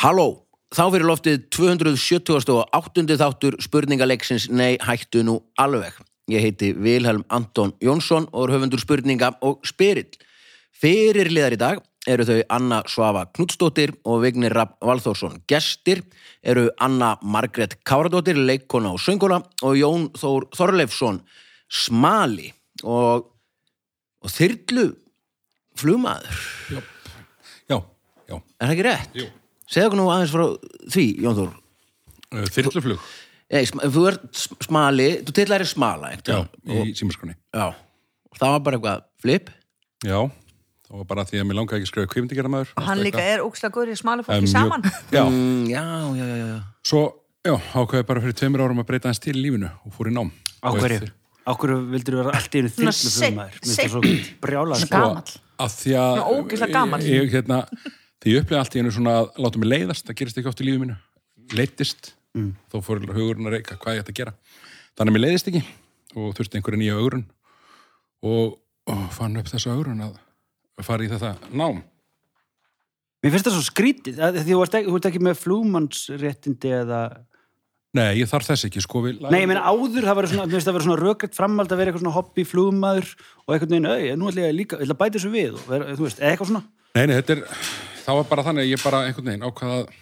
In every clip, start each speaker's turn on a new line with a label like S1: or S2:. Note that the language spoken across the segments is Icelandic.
S1: Halló, þá fyrir loftið 278. þáttur spurningaleiksins Nei, hættu nú alveg. Ég heiti Vilhelm Anton Jónsson og er höfundur spurninga og spyrill. Fyrirliðar í dag eru þau Anna Svava Knudsdóttir og Vignir Rapp Valþórsson. Gestir eru Anna Margrét Káradóttir, leikona og söngona og Jón Þór Þorleifsson, smali og, og þyrlu flumaður.
S2: Já, já,
S1: Er það ekki rétt? Jú. Segðu okkur nú aðeins frá því, Jón Þór.
S2: uh, þyrluflug
S1: Nei, sm- þú ert sm- smali, þú tillar er smala,
S2: já,
S1: ekkert?
S2: í símaskroni
S1: Já. Og það var bara eitthvað flip.
S2: Já, það var bara því að mér langaði ekki að skrifa kvikmyndigerðamaður
S3: Og hann líka er óksla góður í smalu
S2: Það er
S3: fólki saman.
S2: Já,
S1: Mm, já, já, já, já.
S2: svo, já, ákveði bara fyrir tveimur árum að breyta hans til í lífinu og fór í nám
S4: Á hverju? Á hverju vildur vera allt í einu
S3: Svona
S4: þyrluflugmaður?
S3: seinn,
S4: Mér finnst það svo brjálað.
S3: Svona
S4: sko.
S3: Gamall.
S2: Að því að
S3: Nú, ógeðslega gamall.
S2: Ég, ég, hérna, því ég upplega allt í einu svona að láta mig leiðast, það gerist ekki oft í lífið mínu leittist, þó fór hugurinn að reyka hvað ég ætti að gera þannig að mér leiðist ekki og þurfti einhverja nýja augurinn og, og fann upp þessa augurinn að fara í þetta nám
S4: Mér finnst það svo skrítið, að- því þú ert ekki, þú ert ekki með flugmannsréttindi eða...
S2: Nei, ég þarf þess ekki, sko við-
S4: Nei, ég meina áður, það var svona, mér finnst það verið svona rökrætt framhald að vera eitthvað svona hobby flugmaður og eitthvað neginn, au, nú ætla ég líka, ég ætla að bæta þessu við og vera, þú veist, eða eitthvað svona.
S2: Nei, nei, þetta er, það var bara þannig að ég bara einhvern veginn ákvaða að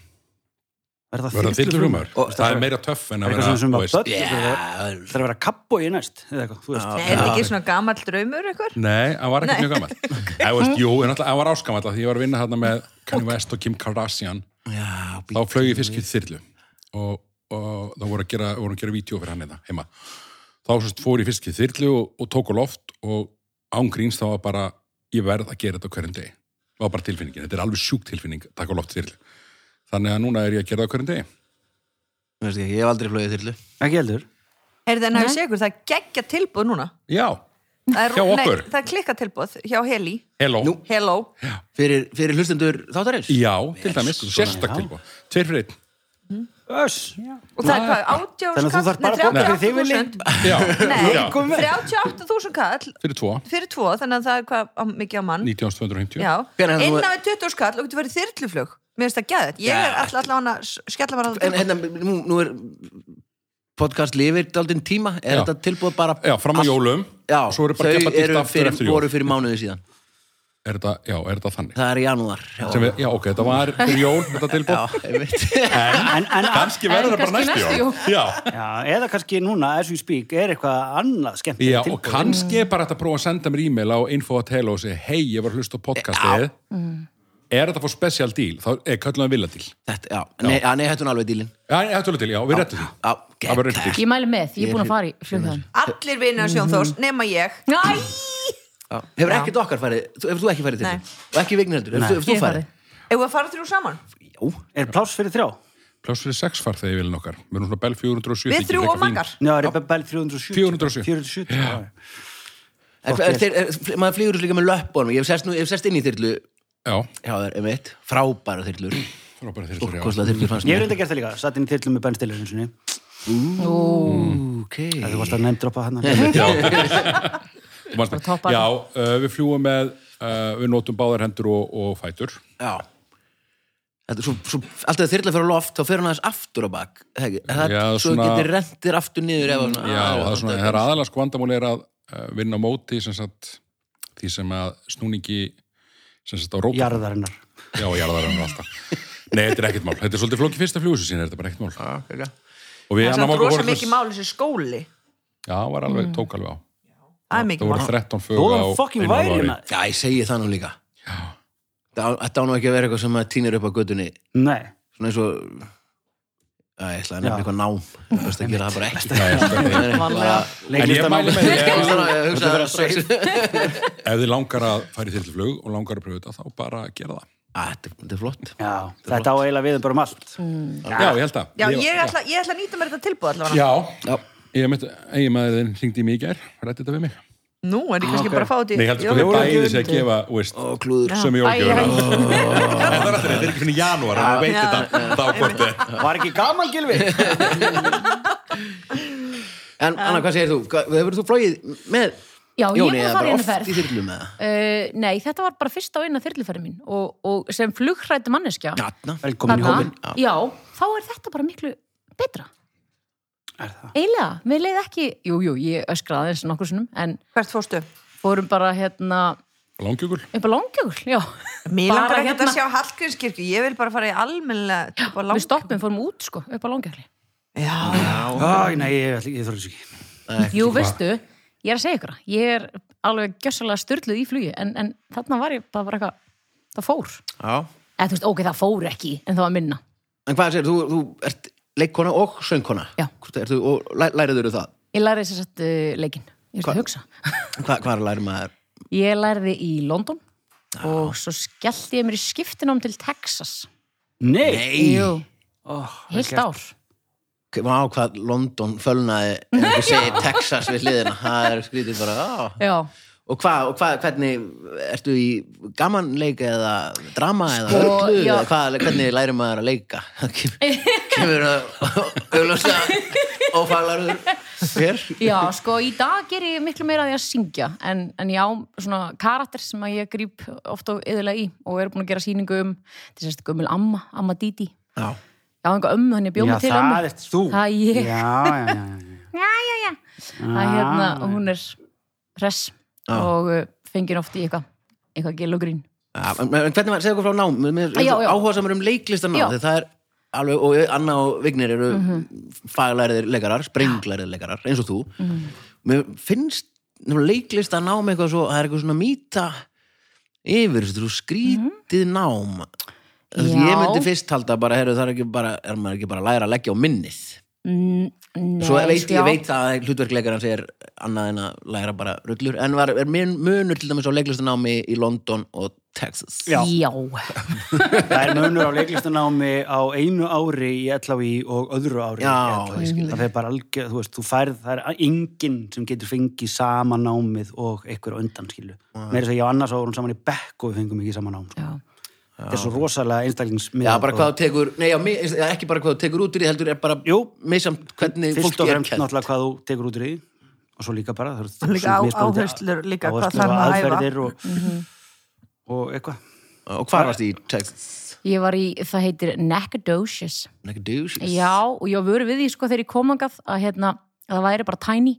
S4: Verða
S2: verða þyrluflugmaður.
S1: Og-
S2: Það er meira töff en að
S4: Eitthvað
S2: vera,
S4: svona sem
S2: þú
S4: var
S2: veist.
S4: börn, það er að vera kappbói næst, eða eitthvað, þú veist.
S3: Nei, er þetta ekki svona gamall draumur ykkur?
S2: Nei, það var ekkert
S3: Nei.
S2: mjög gammal. Það veist, jú, en alltaf, það var áskamall að því ég var að vinna hérna með Kanye West og Kim Kardashian.
S1: Já,
S2: Þá flög ég fyrst í þyrlu og, og þá voru að gera, voru að gera vídeo fyrir hann eða heima. Þá sérst fór ég fyrst í þyrlu og, og tók á loft og ángríns þá var bara, ég verð að gera þetta á hverjum degi. Það var bara tilfinningin. Þetta er alveg sjúk tilfinning, að taka á loft þyrlu. Þannig að núna er ég að gera það á hverjum degi.
S1: Þú veist ekki, ég hef aldrei flöðið þyrlu.
S4: Ekki heldur.
S3: Er þetta enn sé ykkur, það er geggja tilbúð núna.
S2: Já,
S3: Það er,
S2: Hjá okkur?
S3: Nei, það er klikka tilbúð hjá Heli.
S2: hello.
S3: Hello.
S1: Fyrir, fyrir hlustendur þáttarins?
S2: Já, til dæmis,
S1: sko,
S2: sérstak tilbúð Tveir fyrir einn
S4: Öss,
S3: Og það er hvað,
S4: Þannig
S3: 18
S4: að þú þarf bara að borga fyrir þig, Villi.
S3: 38.000
S2: Já,
S3: Nei,
S2: já.
S3: 38.000 kall
S2: Fyrir tvo,
S3: fyrir tvo, þannig að það er hvað á- mikið á mann.
S2: 1950
S3: Já,
S1: Hvenær þú-
S3: innan við 20 skall og getur verið þyrluflug. Mér finnst það gæðið. Ég er alltaf allan að skella mér
S1: En
S3: alltaf
S1: hérna, nú, nú er podcast lifir daldinn tíma. Er
S2: Já.
S1: þetta tilbúið bara...
S2: Já, fram á jólum
S1: Já,
S2: Svo eru bara keppa
S1: þau
S2: dýrt
S1: eru
S2: aftur
S1: fyrir,
S2: eftir jól
S1: voru fyrir mánuði síðan.
S2: er þetta, Já, er þetta þannig?
S1: Það er í janúar. Já,
S2: Sem Við, já, ok, þetta var fyrir jól, þetta tilbúð
S1: já ég veit.
S4: en, en
S2: Kanski verður það bara
S5: kannski
S2: næstu
S5: næstu
S2: jól Já,
S4: Já, eða kannski núna, as we speak, er eitthvað annað skemmt
S2: já og kannski er bara þetta að prófa að senda mér e-mail á info að tela og segja Hei, ég var að hlusta á podcastið Er þetta að fá special deal? Þá eh, er kallum að vilja deal
S1: Þetta, já. Nei, já, nei, hættu nú alveg dílinn.
S2: Já, ég ætlum til, já, við rettum því
S1: Já,
S2: Það var
S1: gegn.
S2: rettum til
S5: Ég mæli með, ég er búin að fara í flugðan
S3: Allir vinnar Sjón Þórs, nema ég.
S5: Næ,
S1: Já. Hefur ekkert okkar farið, þú- hefur þú ekki farið til
S3: Nei.
S1: þín? Og ekki vignir heldur, hefur þú- hefur
S5: ég
S1: þú
S5: er farið
S1: farið?
S3: Eða að fara þrjú saman?
S1: Jú,
S4: Er pláss fyrir þrjá?
S2: Pláss fyrir sex farþegi vilin okkar Við erum svona Bell 407
S3: Við
S2: ekki
S3: þrjú
S2: frekar
S3: og
S2: fín.
S3: makkar.
S4: Já, er Rebel 470.
S2: 470.
S4: 470, já.
S1: En er, þeir, er, fl- maður flýgur þessu líka með löppunum ég hef sest, nú, ég hef sest inn í þyrlu já,
S2: Já,
S1: það er einmitt, frábæra þyrlur
S2: frábæra þeir já
S1: stórkostlega þyrlur fannst
S4: Ég hef reynda gert það líka, satt inn í þyrlu með Ben Stiller eins og niður.
S1: ok
S4: Þú varst að nefndropa hérna, hann. Nei,
S2: Þú manst það.
S5: toppar.
S2: Já, uh, við fljúum með uh, við notum báðar hendur og, og fætur
S1: já Þetta, er svo, svo, alltaf þegar þyrla fyrir á loft þá fyrir hann aðeins aftur á bak það, það,
S2: Já,
S1: svo
S2: svona-
S1: getur rentir aftur niður ef, Ah, hann-
S2: Já, það er svona, það er aðalega sko vandamál er að uh, vinna á móti sem sagt, því sem að snúningi sem sagt á rópa
S4: Jarðarinnar.
S2: Já, jarðar hann alltaf Nei, þetta er ekkert mál, þetta er svolítið flókið fyrsta fljóðsins sín er þetta bara ekkert mál
S1: Já, ok.
S2: og við
S3: Það er
S2: annar
S3: samt
S2: móka
S3: rosa
S2: vorum
S3: mikið Mm. máli þessi skóli.
S2: Já, var alveg, tók alveg á
S3: Það er
S2: Það
S3: mikið
S2: voru
S3: máli.
S2: 13 fög
S4: Þú
S2: á
S4: var fucking hérna.
S2: einu hálfu ári.
S4: værið maður.
S1: já, ég segi það nú líka Það á- þetta á nú ekki að vera eitthvað sem maður týnir upp á gödunni
S4: Nei.
S1: svona eins og að ég ætla að nefna
S4: Já.
S1: eitthvað nám það er best að gera það bara ekki
S2: Já, sko,
S1: Það er bara-
S2: En ég mæli
S4: Leiklistamann.
S2: með því
S1: Ég
S2: ef-
S1: svona- ég hugsa að sex-
S2: ef þið langar að fara í þyrluflug og langar að pröfu þetta, þá bara gera það
S1: Að, Þetta þetta er flott
S4: Já, þetta á eiginlega við um bara um allt.
S5: Mm.
S2: Já, ég held að
S3: Já,
S2: Ég-
S3: ég ætla, ég ætla að nýta mér þetta tilbúð allavega.
S2: Já,
S1: Já.
S2: ég mitt, eigin maður þinn hringdi í mig í gær, rætti þetta við mig
S3: Nú er ég kannski bara að fá þetta
S2: Nei, ég
S3: í-
S2: held
S3: Jó,
S2: sko þið
S4: voru ekki
S2: bæði sér að gefa, þú veist,
S1: og klúður
S2: sem ég
S5: Æ, æ,
S2: ógjöra
S5: æ.
S2: Það er aftur, þetta er ekki fyrir janúar, hann veit
S3: Já.
S2: þetta þá hvort þið
S4: Var ekki gaman, Gilvi?
S1: En Anna, hvað segir þú? Hva- Hefur þú flóið með
S5: Já, ég er
S1: Jóni,
S5: búin
S1: eða
S5: að fara í einu
S1: oft
S5: ferð.
S1: í þyrlu með það.
S5: Uh, nei, þetta var bara fyrst á eina þyrluferði mín og, og sem flugrætt manneskja
S1: Gatna.
S4: Velkomin í
S5: Þarna,
S4: hópin.
S1: já.
S5: Já, þá er þetta bara miklu betra.
S4: Er það?
S5: Eilega, mér leið ekki, jú, jú, ég öskraði aðeins nokkur sinnum, en
S3: Hvert fórstu?
S5: fórum bara hérna
S2: Langjökul?
S5: upp á langjökul, já.
S3: Mér
S5: Bara
S3: langar ekki
S5: hérna.
S3: að sjá Hallgrímskirkju, ég vil bara fara í almennilega upp á lang...
S5: Við stoppum, fórum út, sko, upp á langjökli.
S3: Já,
S4: Æ, nei, ég, ætla- ég þarf þess ekki.
S5: Jú, veistu, ég er að segja ykkur, það, ég er alveg gjössalega styrluð í flugi, en, en þarna var ég bara, bara eitthvað, það fór.
S1: Já.
S5: Eða þú veist, ok, það fór ekki, en það var minna.
S1: En hvað segir, þú, þú ert leikkona og söngkona.
S5: Já.
S1: Hvort er þú, og læ, læriður þú það?
S5: Ég lærði þess að uh, leikinn, ég veist
S1: Hva-
S5: að hugsa.
S1: Hva, hvað er að læra maður?
S5: Ég lærði í London og svo skellti ég mér í skiptinám til Texas.
S4: Nei!
S5: Jú,
S4: Ó, vel
S5: heilt
S4: gert.
S5: ár.
S1: Vá, hvað London fölnaði, ef ekki segir Texas við hliðina. Það er skrítið bara, "Ah." á.
S5: Já.
S1: Og hvað, og hvað, hvernig, ertu í gamanleik eða drama eða
S5: Sko,
S1: höllu?
S5: já.
S1: Eða hvað, hvernig lærir maður að leika? Það kem- Kemur að auðlösa ófaglarður fyrr?
S5: Já, sko, í dag ger ég miklu meira að ég að syngja, en, en já, svona karakter sem að ég grýp oft og yðurlega í og er búin að gera sýningu um, til sérst, gömul amma, amma Didi.
S1: Já.
S5: Já, einhver ömmu, hann ég bjóð mig til
S4: Já,
S5: ömmu.
S4: það ert þú.
S5: Það er ég.
S4: Já, já, já, já.
S5: Það hérna,
S4: Ah.
S5: hún er hress
S1: Já.
S5: og uh, fengir oft í eitthvað, eitthvað gil og grín.
S1: Já, en en hvernig var, segja okkur frá nám mér
S5: Ah, Já, já.
S1: áhuga samur um leiklistanám
S5: Já. Mhm.
S1: þegar það er alveg, og Anna og Vignir eru mm faglæriðir leikarar sprenglærið leikarar, eins og þú
S5: Mhm.
S1: mér finnst nefnum, leiklistanám eitthvað svo, það er eitthvað svona mýta yfir, þú veist, þú skrítið nám Þú veist, ég
S5: Mhm. Já.
S1: myndi fyrst halda bara, heru, það er ekki bara er maður ekki bara að læra að leggja á minnið
S5: Mm, Nei,
S1: svo veit,
S5: já.
S1: ég veit að hlutverkleikarans er annað en að læra bara rullur en var, er mun- munur til dæmis á leiklistanámi í London og Texas
S4: Já.
S5: Já.
S4: Það er munur á leiklistanámi á einu ári í LHI og öðru ári
S1: Já,
S4: í
S1: ég
S4: LHI. Það er bara algjör, þú veist, þú færð, það er enginn sem getur fengið sama námið og einhver á undan, skilu. Mér er þess að ég og annars árum saman í bekk og við fengum ekki sama nám. sko.
S5: Já.
S4: Þetta er svo rosalega einstaklingsmið.
S1: Já, bara hvað þú tekur, nei, já, mi- eða ekki bara hvað þú tekur út úr því, heldur er bara
S4: Jú,
S1: meðsamt hvernig
S4: fyrst
S1: fólki
S4: og
S1: er
S4: fremst
S1: kent.
S4: náttúrulega hvað þú tekur út úr því og svo líka bara. það eru
S3: Líka á-
S4: mismunandi
S3: áherslur líka, hvað
S4: áherslur
S3: þarf
S4: og
S3: að æfa.
S4: aðferðir og,
S5: Mhm.
S4: og eitthvað.
S1: Og hvað varst í Texas?
S5: Ég var í, það heitir Nacogdoches.
S1: Nacogdoches?
S5: Já, og ég var vöru við því sko þegar ég kom angað að hérna, að það væri bara tiny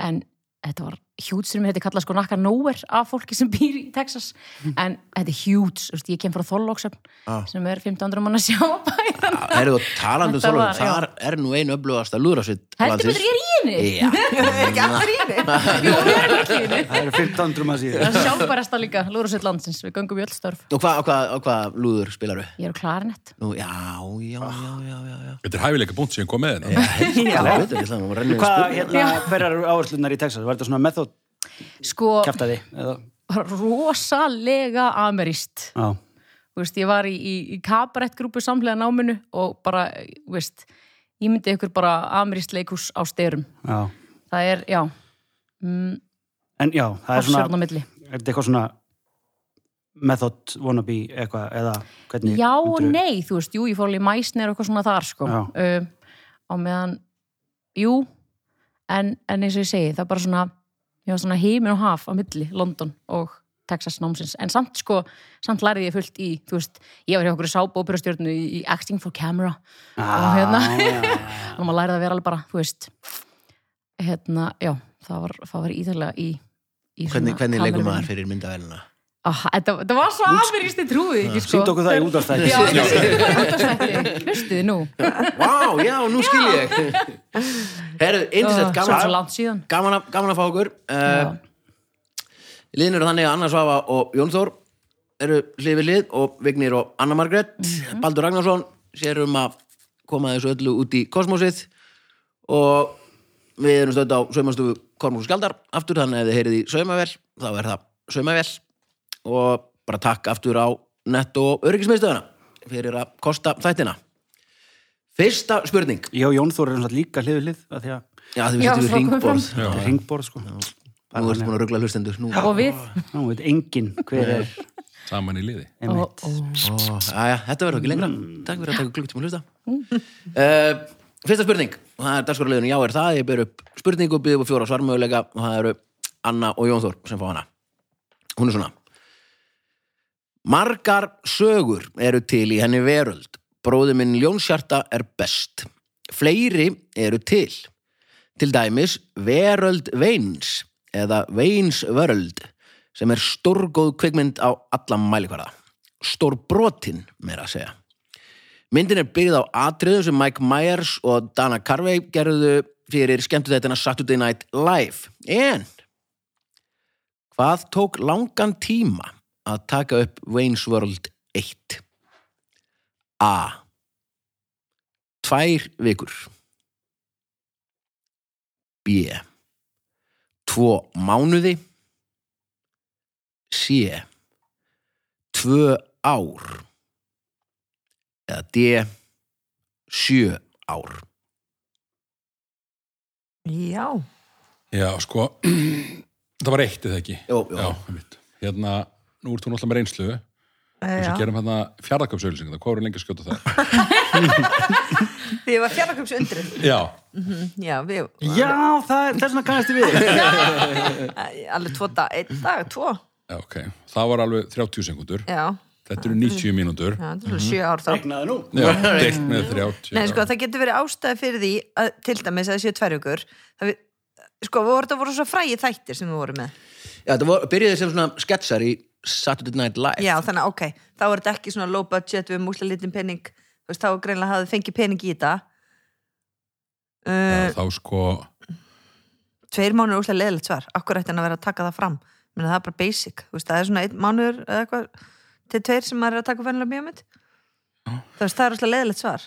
S5: en þetta var huge sem þetta kallað sko nakka nowhere af fólki sem býr í Texas en þetta er huge, þú veist, ég kem frá Þorlóksöfn
S1: Ah.
S5: sem er 1500 manna sjáabæðan
S1: Það eru þú talandi um
S5: Þetta var-
S1: þorlum, þar er nú einu öflugasta lúðrásvitt.
S5: Heldur betur ég er í henni?
S1: Já,
S3: er ekki allir í henni?
S5: Jú, við erum ekki í henni
S4: Það eru 15 um að síðan.
S5: Það er sjálfbærasta líka, Lúrasveit landsins, við göngum í öll störf
S1: og hvað hva, hva lúður spilaru?
S5: Ég er á klarinett
S1: Nú, já, já, já, já, já, já.
S2: Þetta er hæfileika búnt sem ég kom með hérna. þetta.
S1: Já, betur, ég ætlaði að renna í spurning.
S4: Hvað, hérna, hverjar eru áherslunar í Texas? Var þetta svona method
S5: Sko,
S4: kæftæði? Eða,
S5: rosalega amerist
S4: á,
S5: Þú veist, ég var í, í, í kabarettgrúpu samlega náminu og bara, þú veist, ég myndi ykkur bara amirist leikhús á styrum.
S4: á.
S5: Það er, já, mm,
S4: En já, það er
S5: hafsjörn á
S4: svona,
S5: milli.
S4: er þetta eitthvað svona method wannabe eitthvað, eða hvernig?
S5: Já og
S4: myndirðu-
S5: nei, þú veist, jú, ég fór alveg í mæsnir og eitthvað svona þar, sko.
S4: Já.
S5: Uh, á meðan, jú, en, en eins og ég segi, það er bara svona, ég var svona heimin og haf á milli, London og Texas námsins. En samt, sko, samt lærði ég fullt í, þú veist, ég var hjá okkur sábóperastjórnu í, í Acting for Camera.
S4: Ah,
S5: og hérna.
S4: Á,
S5: og maður lærið að vera alveg bara, þú veist hérna, já, það var, það var ítalega í, í
S1: Hvernig, hvernig leikum maður fyrir myndavæluna?
S5: oh, þetta, þetta var svo afmyrjist, ég trúið ekki sko.
S4: Sýnd okkur það í útastætti.
S5: já, þetta sýndu það í útastætti hlustuði nú,
S1: Vá, já, nú skil ég. Herru,
S5: það
S1: indislegt,
S5: var svo
S1: gaman,
S5: langt síðan
S1: gaman, að- gaman að fá okkur. Uh,
S5: Já.
S1: Liðin eru þannig að Anna Svafa og Jón Þór eru hlið við hlið og Vignir og Anna Margrét, Baldur Ragnarsson sér um að koma þessu öllu út í kosmosið og við erum stödd á saumastofu Kormús Skjaldar aftur þannig að þið heyrið í saumavel þá er það saumavel og bara takk aftur á netto og öryggismiðstöðuna fyrir að kosta þættina Fyrsta spurning
S4: Ég og Jón Þór erum svona líka hliðu hlið, að því að
S1: Já, þið
S5: Já,
S1: finnst við
S5: svo komum
S1: ringborð
S5: fram.
S4: þetta er hringborð, sko.
S1: Nú ertu búin að ruggla hlustendur Nú,
S5: og við,
S4: Nú veit enginn hver er
S2: Saman í liði.
S5: og,
S4: einmitt.
S5: og,
S1: Ó, Jæja, þetta verður ekki lengra Takk fyrir að taka klukkutíma að hlusta uh, Fyrsta spurning og það er dagskorarleginu Já er það, ég ber upp spurningu byggðu og fjóra svarmöguleika og það eru Anna og Jón Þór sem fá hana hún er svona margar sögur eru til í henni veröld bróði minn Ljónsjarta er best fleiri eru til til dæmis veröld veins eða veinsveröld sem er stórgóð kvikmynd á allan mælikvarða stórbrotin meira að segja Myndin er byggð á atriðum sem Mike Myers og Dana Carvey gerðu fyrir skemmtu þetta Saturday Night Live. En hvað tók langan tíma að taka upp Wayne's World 1? A. Tvær vikur. B. Tvo mánuði. C. Tvö ár eða D sjö ár
S3: Já,
S2: Já, sko, það var eitt eða ekki.
S1: Jó, jó.
S2: Já, einmitt. Hérna, nú ert þú náttúrulega með reynslu,
S3: Eh,
S2: þess
S3: já.
S2: að gerum hérna fjárðakapsauðlýsing, það hvað eru lengi að skjóta það?
S3: Því ég var fjarnaköps undrið
S2: Já,
S3: Já, við
S4: Já, það er þess vegna kannast ég við.
S3: Alveg tvo dag, einn dag, tvo
S2: já, ok. Það var alveg 30 sekundur,
S3: Já,
S2: þetta eru 90 mínútur.
S3: já þetta er svona sjö ár þá
S4: Regnaði Hérna, nú.
S2: Já, deilt með 30.
S3: Nei, sko, það getur verið ástæði fyrir því að, til dæmis að það séu tverjugur við, sko, við vorum þetta voru svo frægi þættir sem við vorum með
S1: Já, það var, byrjaði sem svona sketsar í Saturday Night Live
S3: Já, þannig að ok, þá er þetta ekki svona low budget við músla litin pening þú veist, þá greinlega hafði fengið pening í þetta uh,
S2: Þá sko,
S3: Tveir mánuður er úsla leðilegt svar Akkur ætti hann að vera að taka það fram Menni, það er bara basic, þú veist, það er svona einn mánuður eða eitthvað til tveir sem maður er að taka fennilega mjög mynd Þú veist, það er úsla leðilegt svar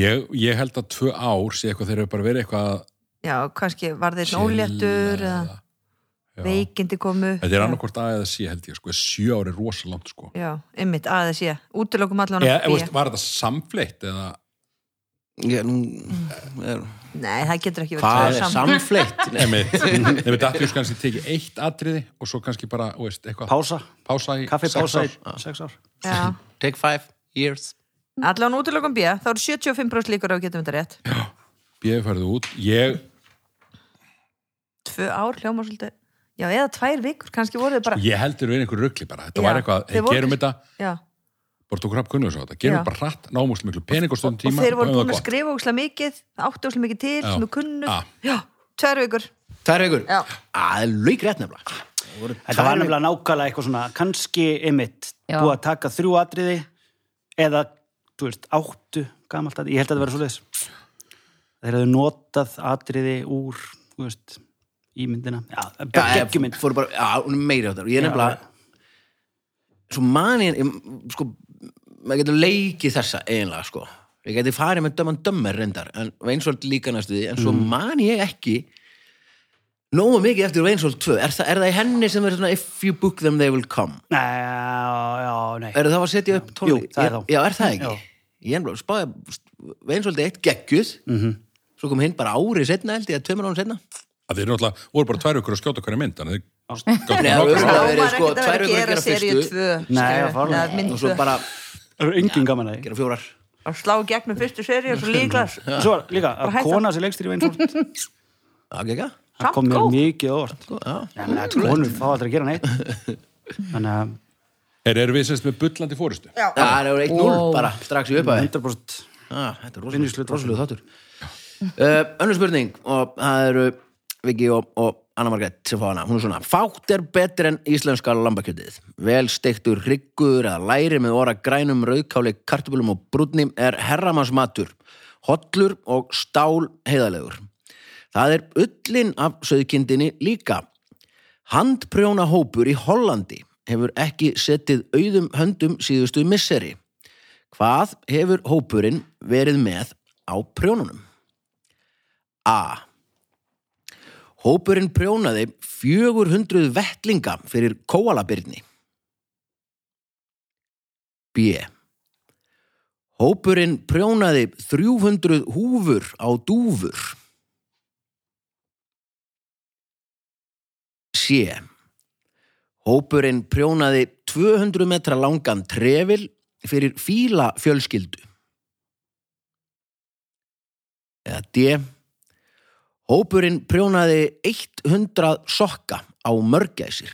S2: ég, ég held að tvö ár sé eitthvað þeir eru bara verið eitthvað að
S3: Já, kannski var þeir
S2: chilla
S3: óléttur eða
S2: Já.
S3: veikindi komu
S2: Þetta er
S3: Já.
S2: annarkvort aðeins að sé, held ég, sko, sjö ár er rosa langt, sko.
S3: Já, ymmit, aðeins ég Útilokum allan
S2: Eða,
S3: B.
S2: eða, veist, var þetta samfleitt eða
S1: Ég, nú,
S3: Mm.
S1: er,
S3: Nei, það getur ekki
S1: Hvað
S3: verið
S1: er
S3: sam-
S1: samfleitt? Nei,
S2: Einmitt. Nei, við dættum kannski tekið eitt atriði og svo kannski bara, þú veist, eitthvað
S4: Pása.
S2: pása í
S4: Kaffi
S2: sex
S4: pása í
S2: ár.
S4: sex ár.
S3: Já.
S1: Take five years
S3: Allan útilokum B, þá eru 75% líkur ef við getum þetta rétt
S2: Ég færði út, ég,
S3: Tvö ár, hljóma svolítið Já, eða tvær vikur, kannski voru þið bara
S2: ég heldur við einhver ruggli bara, þetta
S3: Já,
S2: var eitthvað,
S3: þeir
S2: hey,
S3: voru-
S2: gerum þetta
S3: Já,
S2: bara tók hrapp kunnum svo þetta, gerum
S3: Já.
S2: þetta bara hratt námúslega miklu pening og stóðum
S3: og
S2: tíma
S3: þeir
S2: höfum
S3: voru búin að
S2: það gott.
S3: skrifa úkslega mikið áttu úkslega mikið til,
S2: Já.
S3: sem við kunnum
S2: Ah.
S3: Já, tvær vikur
S1: Tvær vikur?
S3: Já.
S1: Að lauk rétt nefnilega Það voru
S4: Þetta var
S1: tvær vikur.
S4: nefnilega nákvæmlega eitthvað svona, kannski ymmit,
S5: Já.
S4: búið að taka þrjú atriði eða, þú veist, áttu gamalt atriði, ég held að það vera svo leis. Þeir hefðu notað atriði úr, þú veist, ímyndina. Já,
S1: Já,
S4: geggjumynd.
S1: ég fór bara, já, hún er meiri á þetta Ég er nefnilega Svo mani, ég, sko maður getur leikið þessa eiginlega, sko Ég geti farið með döman dömmar reyndar en Veinsvold líka næstu því en svo
S4: Mm.
S1: mani ég ekki nógu mikið eftir Veinsvold 2 er, það, er það í henni sem er svona if you book them they will come
S4: Nei, já, já, nei.
S1: Er það að setja upp tónli?
S4: Jú, það er þá.
S1: Já, er það ekki?
S4: Já.
S1: Ég ennblá, spáði, Veinsvold eitt gegguð
S4: Mhm.
S1: Svo kom hinn bara árið setna held ég að tveimur án setna
S2: að þeir náttúrulega voru bara tvær ykkur að skjóta hverja mynd þannig að þeir gátu
S1: Nei,
S2: nákvæmlega-
S1: það
S3: Þá
S1: verið,
S3: var
S1: sko,
S3: ekkert að
S1: tvær
S3: vera að
S1: vikur að
S3: gera
S1: gera
S3: seríu
S1: fyrstu.
S3: tvö
S4: Nei,
S3: skilur,
S4: það var-
S3: eða mynd
S1: og svo
S3: tvö.
S1: bara
S4: Það eru engin gaman að því.
S1: gera fjórar
S3: Að slá í gegnum fyrstu seríu og svo líklas
S4: Svo var líka, að
S3: hætta.
S4: kona sem leikst í veinfólk,
S1: Það gekk að?
S4: það kom mér mikið óvart.
S1: Já,
S4: Já, menn, að konur fá aldrei að gera neitt. Þannig að
S2: er, er við sérst með bullandi fórustu
S3: Já,
S1: það er 1-0
S5: Wow.
S1: bara strax í upphæði
S4: 100%
S1: Þetta er
S4: Vinnuslið.
S1: rosalega þáttur uh, Önnur spurning og það eru Viki og, og Anna Margrét sem fá hana hún er svona, fátt er betur en íslenska lambakjötið vel steiktur hryggur eða læri með óra grænum rauðkáli kartubulum og brúnni er herramannsmatur hollur og stál heiðalegur það er ullin af söðkindinni líka handprjóna hópur í Hollandi hefur ekki setið auðum höndum síðustu misseri Hvað hefur hópurinn verið með á prjónunum? A. Hópurinn prjónaði 400 vettlinga fyrir kóalabirni. B. Hópurinn prjónaði 300 húfur á dúfur. C. Hópurinn prjónaði 200 metra langan trefil fyrir fíla fjölskyldu. Eða D. Hópurinn prjónaði 100 sokka á mörgæsir.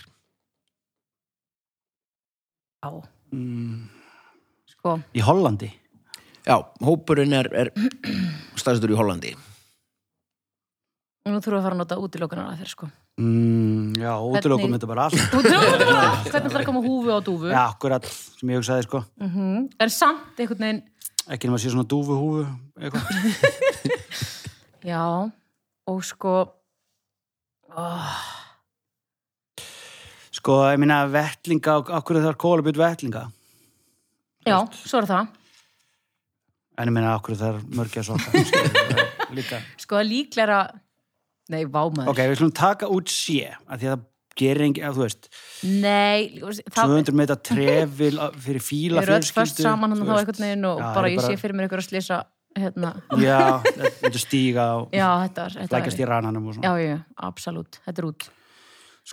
S5: Já,
S4: Mm,
S5: sko,
S4: í Hollandi
S1: Já, hópurinn er, er staðstur í Hollandi.
S5: nú þurfum við að fara að nota útilokunar að þér, sko.
S4: mm, já, útilokum þetta bara allt
S5: Útilokunar, hvernig ætlar að koma húfu á dúfu?
S4: já, akkurat, sem ég hugsaði sko
S5: Mhm. En samt einhvern veginn,
S4: ekki nema að sé svona dúfuhúfu eitthvað.
S5: já, og sko, oh,
S4: sko, ég minna vettlinga, akkur þarf kólabjörn vettlinga
S5: já, svo er það.
S4: en ég minna akkur þarf mörgja sokka skilurðu, líka
S5: Sko, líklega, nei, vámaður.
S4: ok, við slum taka út sé af því að það gerir engi, að þú veist
S5: Nei, það
S4: 200 metra trefil á- fyrir fíla
S5: er öll först saman hann
S4: þú
S5: þá
S4: veist.
S5: einhvern veginn og
S4: Já,
S5: bara
S4: það er
S5: ég sé fyrir mér ykkur að slýsa hérna.
S4: já, þetta myndi stíga og
S5: Já, þetta er, þetta
S4: flækast í rananum og
S5: Já,
S4: svona
S5: já, já, absolutt, þetta er út.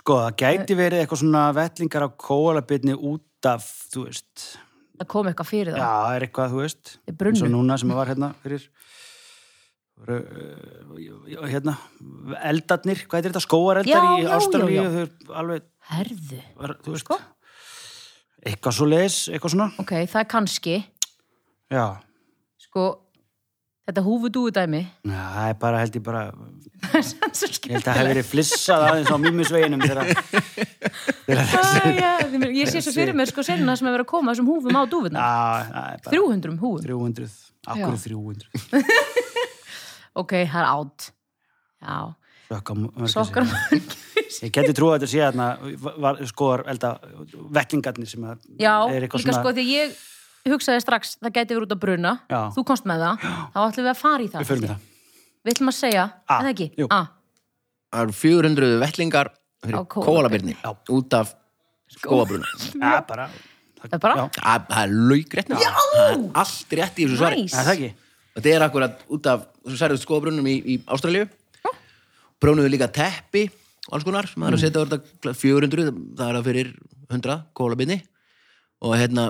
S4: sko, það gæti verið eitthvað svona vettlingar á kólabjörni út af þú veist,
S5: Það kom eitthvað fyrir
S4: já,
S5: það.
S4: er eitthvað, þú veist
S5: Þeir
S4: eins og
S5: brunnu.
S4: núna sem var hérna fyrir voru, uh, hérna eldarnir, hvað heitir þetta, skóareldar í
S5: Já, já, já,
S4: Ástralíu,
S5: já.
S4: þau eru alveg
S5: Herðu.
S4: var- þú veist
S5: Sko?
S4: eitthvað svo leis, eitthvað svona
S5: Ok, það er kannski,
S4: já,
S5: sko, þetta húfudúi dæmi.
S4: Já, það er bara held ég bara ég held að
S5: Svo
S4: það hefur
S5: skemmtilegt.
S4: verið flissað aðeins á mímusveginum þegar
S5: Já, já, því mér- Ég sé svo fyrir mér sko senna sem er verið að koma þessum húfum á dúfuna.
S4: Já, það er Ah, bara
S5: 300 húfum.
S4: 300, akkur 300
S5: Ok, það er átt. Já,
S4: Sökka mörgæsir.
S5: sokkar
S4: Ég geti trúið að þetta sé hérna skoðar elda vellingarnir sem að
S5: Já,
S4: er
S5: líka
S4: eitthvað
S5: sko
S4: svona
S5: því ég hugsaði strax það gæti verið út að bruna,
S4: Já.
S5: þú komst með það þá ætlum við að fara í það
S4: Við förum í það
S5: Við ætlum að segja,
S4: A,
S5: er það ekki? Ah,
S4: jú.
S5: A,
S1: Það eru 400 vettlingar
S5: Á
S1: fyrir
S5: kólabirni.
S1: kólabirni út af skóabruna.
S4: Já, bara
S5: það er bara
S4: Já.
S1: Það það er laugrætt. Það er allt rétt í þessu svari.
S5: Næs.
S4: Er það ekki?
S1: Þetta er akkurat út af særið skoðabrunum í, í Ástralíu. Brjónuðu líka teppi og alls konar sem það er að setja á þetta 400, það er það fyrir 100 kólabinni og hérna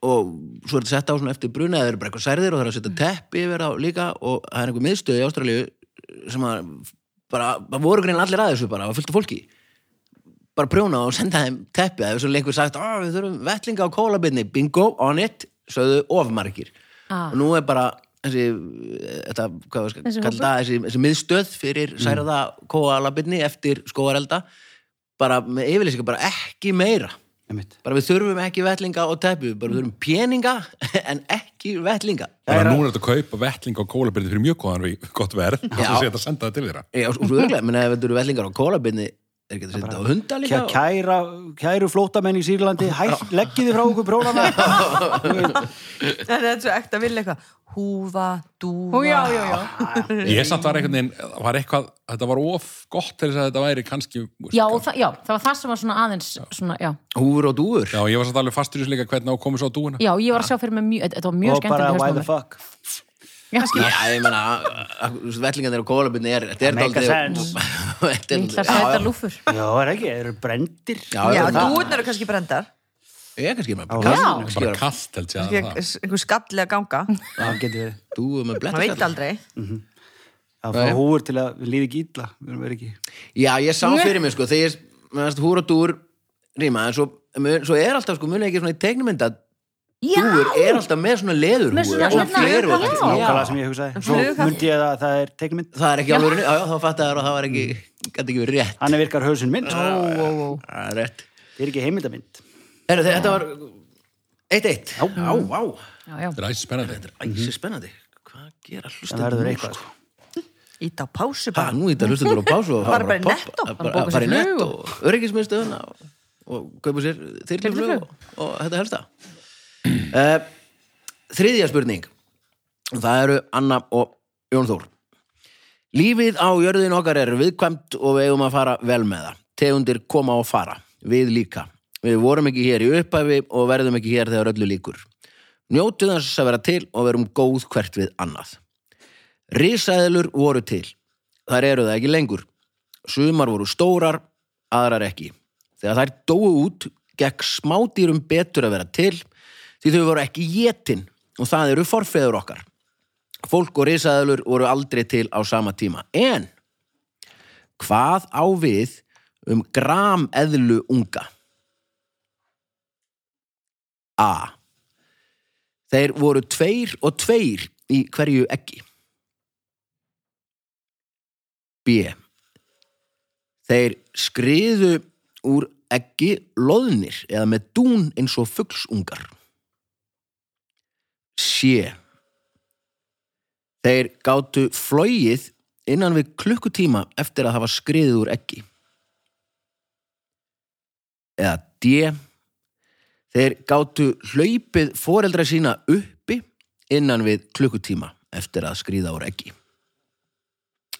S1: og svo er þetta sett á svona eftir bruna eða það eru bara eitthvað særðir og það er að setja teppi yfir á líka og það er einhver miðstöð í Ástralíu sem að bara, það voru greinilega allir að þessu bara, það var fullt af fólki bara prjóna og senda þeim teppi eða svo lengur sagt, "Á, við þurfum vettlinga á kólabinni bingo, on it, sögðu ofmarkir
S5: Ah.
S1: og nú er bara þessi, eh, þetta, hvað var skal
S5: Þessi
S1: kalla það, þessi, þessi miðstöð
S2: Mm.
S1: fyrir særða kóalabinni eftir skóarelda bara með yfirlýsingar bara ekki meira
S4: Einmitt.
S1: bara við þurfum ekki vettlinga og teppu bara við þurfum peninga en ekki vettlinga
S2: Þannig að núna er þetta að kaupa vettling á kólabyrði fyrir mjög góðan við gott verð og
S1: Já.
S2: svo sé þetta að senda það til þeirra.
S1: Já, og svo örglega, menn ef þetta eru vettlingar á kólabinni er ekki að setja á hunda líka
S4: Kæ- Kæra, kæru flótamenn í Sýrlandi hætt, leggið þið frá okkur brónana
S3: Það er svo ekta vill eitthvað Húfa, dúfa
S5: Ó, já, já, já.
S2: Ég samt var einhvern veginn, það var eitthvað, þetta var of gott til þess að þetta væri kannski... þú veist,
S5: Já,
S2: hvað-
S5: það, já, það var það sem var svona aðeins svona, já.
S1: húfur og dúfur
S2: Já, ég var samt alveg fastur í þessu líka hvernig á komið svo á dúuna.
S5: já, ég var að sjá fyrir mig mjög, þetta- þetta var mjög
S4: og bara
S5: skemmtileg
S4: why the
S5: hausnúmer.
S4: fuck
S1: Já, ég menna, vettlingarnir á kólabinni er, þetta er
S4: Make
S1: dálítið-
S4: sense.
S1: Þetta er
S5: Lítlar
S1: dálítið- já, já.
S5: sætar lúfur
S4: Já, er ekki, þeir eru brendir
S1: Já,
S3: Já,
S1: já, það-
S3: dúðnar eru kannski brendar
S1: ég er kannski með
S5: Já.
S1: kall- kannski
S2: Bara
S1: er
S2: kallt held ég að það.
S3: Einhver skalli að ganga Það
S4: Það getur verið
S1: dúfu með
S3: veit
S1: blettaskall
S3: aldrei
S4: Það fá húur til að við líði ekki illa Við erum verið ekki
S1: Já, ég sá fyrir mig sko þegar ég húr og dúr rýma en svo, mun, svo er alltaf sko munið ekki svona í teiknumynda
S5: Já,
S1: dúur er alltaf með svona leður
S5: Með svona-
S1: og
S5: svona-
S1: fleru og
S5: já.
S1: allt.
S4: nákvæmlega sem
S1: Já.
S4: ég hugsaði Svo
S3: flughált.
S4: myndi ég að það er teikmynd
S1: Það er ekki alveg, já, já, þá fattar það að það var ekki gæti ekki verið rétt
S4: Hann er virkar hausinn minn
S5: ó,
S4: Það
S5: ó, ó.
S1: Það er rétt
S4: er ekki heimildamind
S1: Heru, Þetta var 1-1 Já, vá,
S5: Já, já,
S2: Það er æssi spennandi.
S1: æsi spennandi Hvað gera
S4: Það
S1: hlustendur
S4: verður
S1: nú?
S4: eitthvað
S1: sko?
S4: sko.
S3: Íta á pásu
S1: Ha,
S3: bara
S1: nú í þetta hlustendur á pásu og
S3: Fara bara í
S1: að
S3: Netto.
S1: poppa- að bara- að
S5: Bara bóka
S1: fara í
S5: sér flug
S1: nett og öryggismiðstöðuna og, og kaupa sér þyrluflug og, og þetta helsta uh, Þriðja spurning Það eru Anna og Jón Þór Lífið á jörðin okkar er viðkvæmt og við eigum að fara vel með það. Tegundir koma og fara, við líka. Við vorum ekki hér í upphæfi og verðum ekki hér þegar öllu líkur. Njótu þess að vera til og verum góð hvert við annað. Risaðilur voru til. Þar eru það ekki lengur. Sumar voru stórar, aðrar ekki. Þegar þær dóu út, gekk smádýrum betur að vera til því þau voru ekki jetin og það eru forfeður okkar. fólk og risaðalur voru aldrei til á sama tíma. En hvað á við um grameðlu unga? A. Þeir voru tveir og tveir í hverju eggi. B. Þeir skriðu úr eggi loðnir eða með dún eins og fuglsungar. C. Þeir gátu flóið innan við klukkutíma eftir að hafa skriðið úr eggi. Eða D. Þeir gátu hlaupið foreldra sína uppi innan við klukkutíma eftir að skriða úr eggi.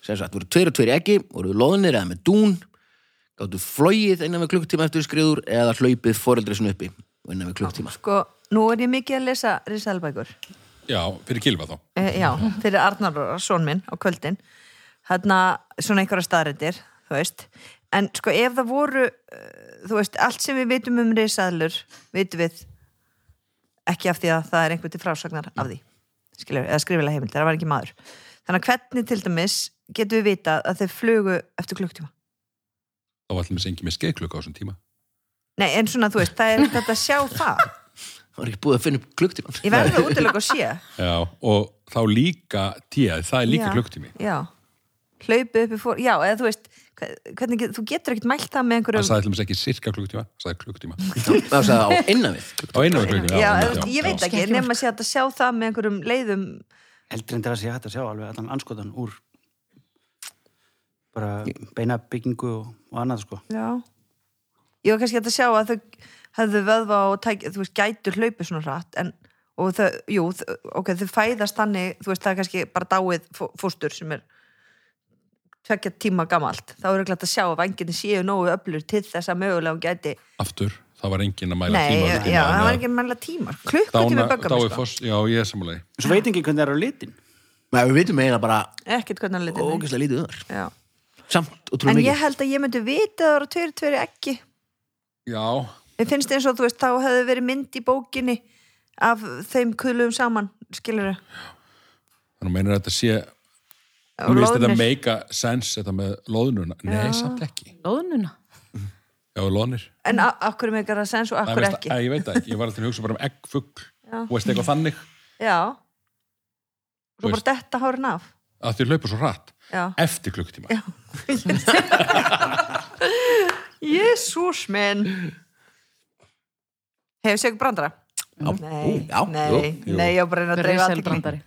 S1: Sem sagt, voru tveir og tveir í eggi, voru loðnir eða með dún, gátu flóið innan við klukkutíma eftir að skriða úr eða hlaupið foreldra sína uppi innan við klukkutíma.
S3: Sko, nú er ég mikið að lesa risalbækur.
S2: Já, fyrir kilva þá.
S3: E, já, fyrir Arnar són minn á kvöldin. Þarna, svona einhverja staðrættir, þú veist. En sko, ef það voru, eh, þú veist, allt sem við vitum um risaðlur, vitum við ekki af því að það er einhver til frásagnar af því. Skilur, eða skrifilega heimild, það var ekki maður. Þannig að hvernig til dæmis getum við vita að þeir flugu eftir klukktíma?
S2: Þá var allir með sengi með skeiklöku á þessum tíma.
S3: Nei, en svona, þú veist, það er ekkert að sjá það.
S1: Það var ekki búið að finna upp klukktíman.
S3: Ég verður að útilega að sé.
S2: Já, og þá líka tíða, það er líka
S3: Já,
S2: klukktími.
S3: já, hlaupi upp í fór já, eða þú veist, hve- hvernig, get- þú getur ekkert mælt það
S2: Það
S3: með einhverjum
S2: sagði allir með ekki sirka klukktíma, það sagði klukktíma.
S1: Það sagði á innan við.
S2: Á einu var klukktíma.
S3: já, eða,
S2: einmitt,
S3: þú veist, ég veit
S2: já.
S3: ekki, nema að sé hægt að sjá það með einhverjum leiðum
S4: Eldri en það sé hægt að sjá alveg allan anskotan úr bara beina byggingu og, og annað sko.
S3: já. ég var kannski hægt að sjá að þau hefðu vöðva og tæk, þú veist, gætur hlaupi svona rætt en, og þau, jú, þau- ok, þau fæðast þannig, þú veist, það er kannski bara dáið fó- fóstur sem er tvekja tíma gamalt, þá eru glætt að sjá að vanginni séu nógu öflur til þess að mögulega hún gæti,
S2: Aftur, það var engin að mæla
S3: nei,
S2: tíma. á
S3: já,
S2: klukktíma, en að
S3: það var ekki sko. mæla tíma sko. klukkutími
S2: Dána,
S3: böggar
S2: dái fórst, já, ég er sammálaði.
S4: Svo veit ekki hvernig það er á litin.
S1: Nei, við vitum eiginlega bara
S3: ekkert hvernig hann litið
S1: ógeðslega lítið um þar.
S3: Já.
S1: Samt og
S3: En
S1: trúið
S3: ég
S1: mikið.
S3: held að ég myndi vita að það eru tveir, tveir ekki.
S2: Já,
S3: Mér finnst eins og þú veist, þá hefði verið mynd í bókinni af þeim kulum saman, skilur þau.
S2: þannig meinar þetta sé, nú veist þetta make a sense, þetta með loðnuna. Nei, samt ekki.
S5: Lóðnuna.
S2: Já, loðnir.
S3: En a- af hverju með gara sens og af
S2: Það
S3: hverju
S2: veist-
S3: ekki.
S2: Æ, Ég veit það ekki, ég var alltaf að hugsa bara um eggfugl
S3: Já.
S2: og veist eitthvað þannig
S3: Já.
S2: Þú
S3: Svo bara
S2: veist.
S3: detta hárin af.
S2: að því hlaupa svo hratt
S3: Já.
S2: eftir klukkutíma.
S3: Jésús minn. Hefur séu ekki brandara?
S1: Já.
S3: Nei,
S1: Ú, já,
S3: nei,
S1: jú,
S2: jú.
S3: nei, ég var bara að reyna að dreifa aðtekni.
S5: Risalbrandari.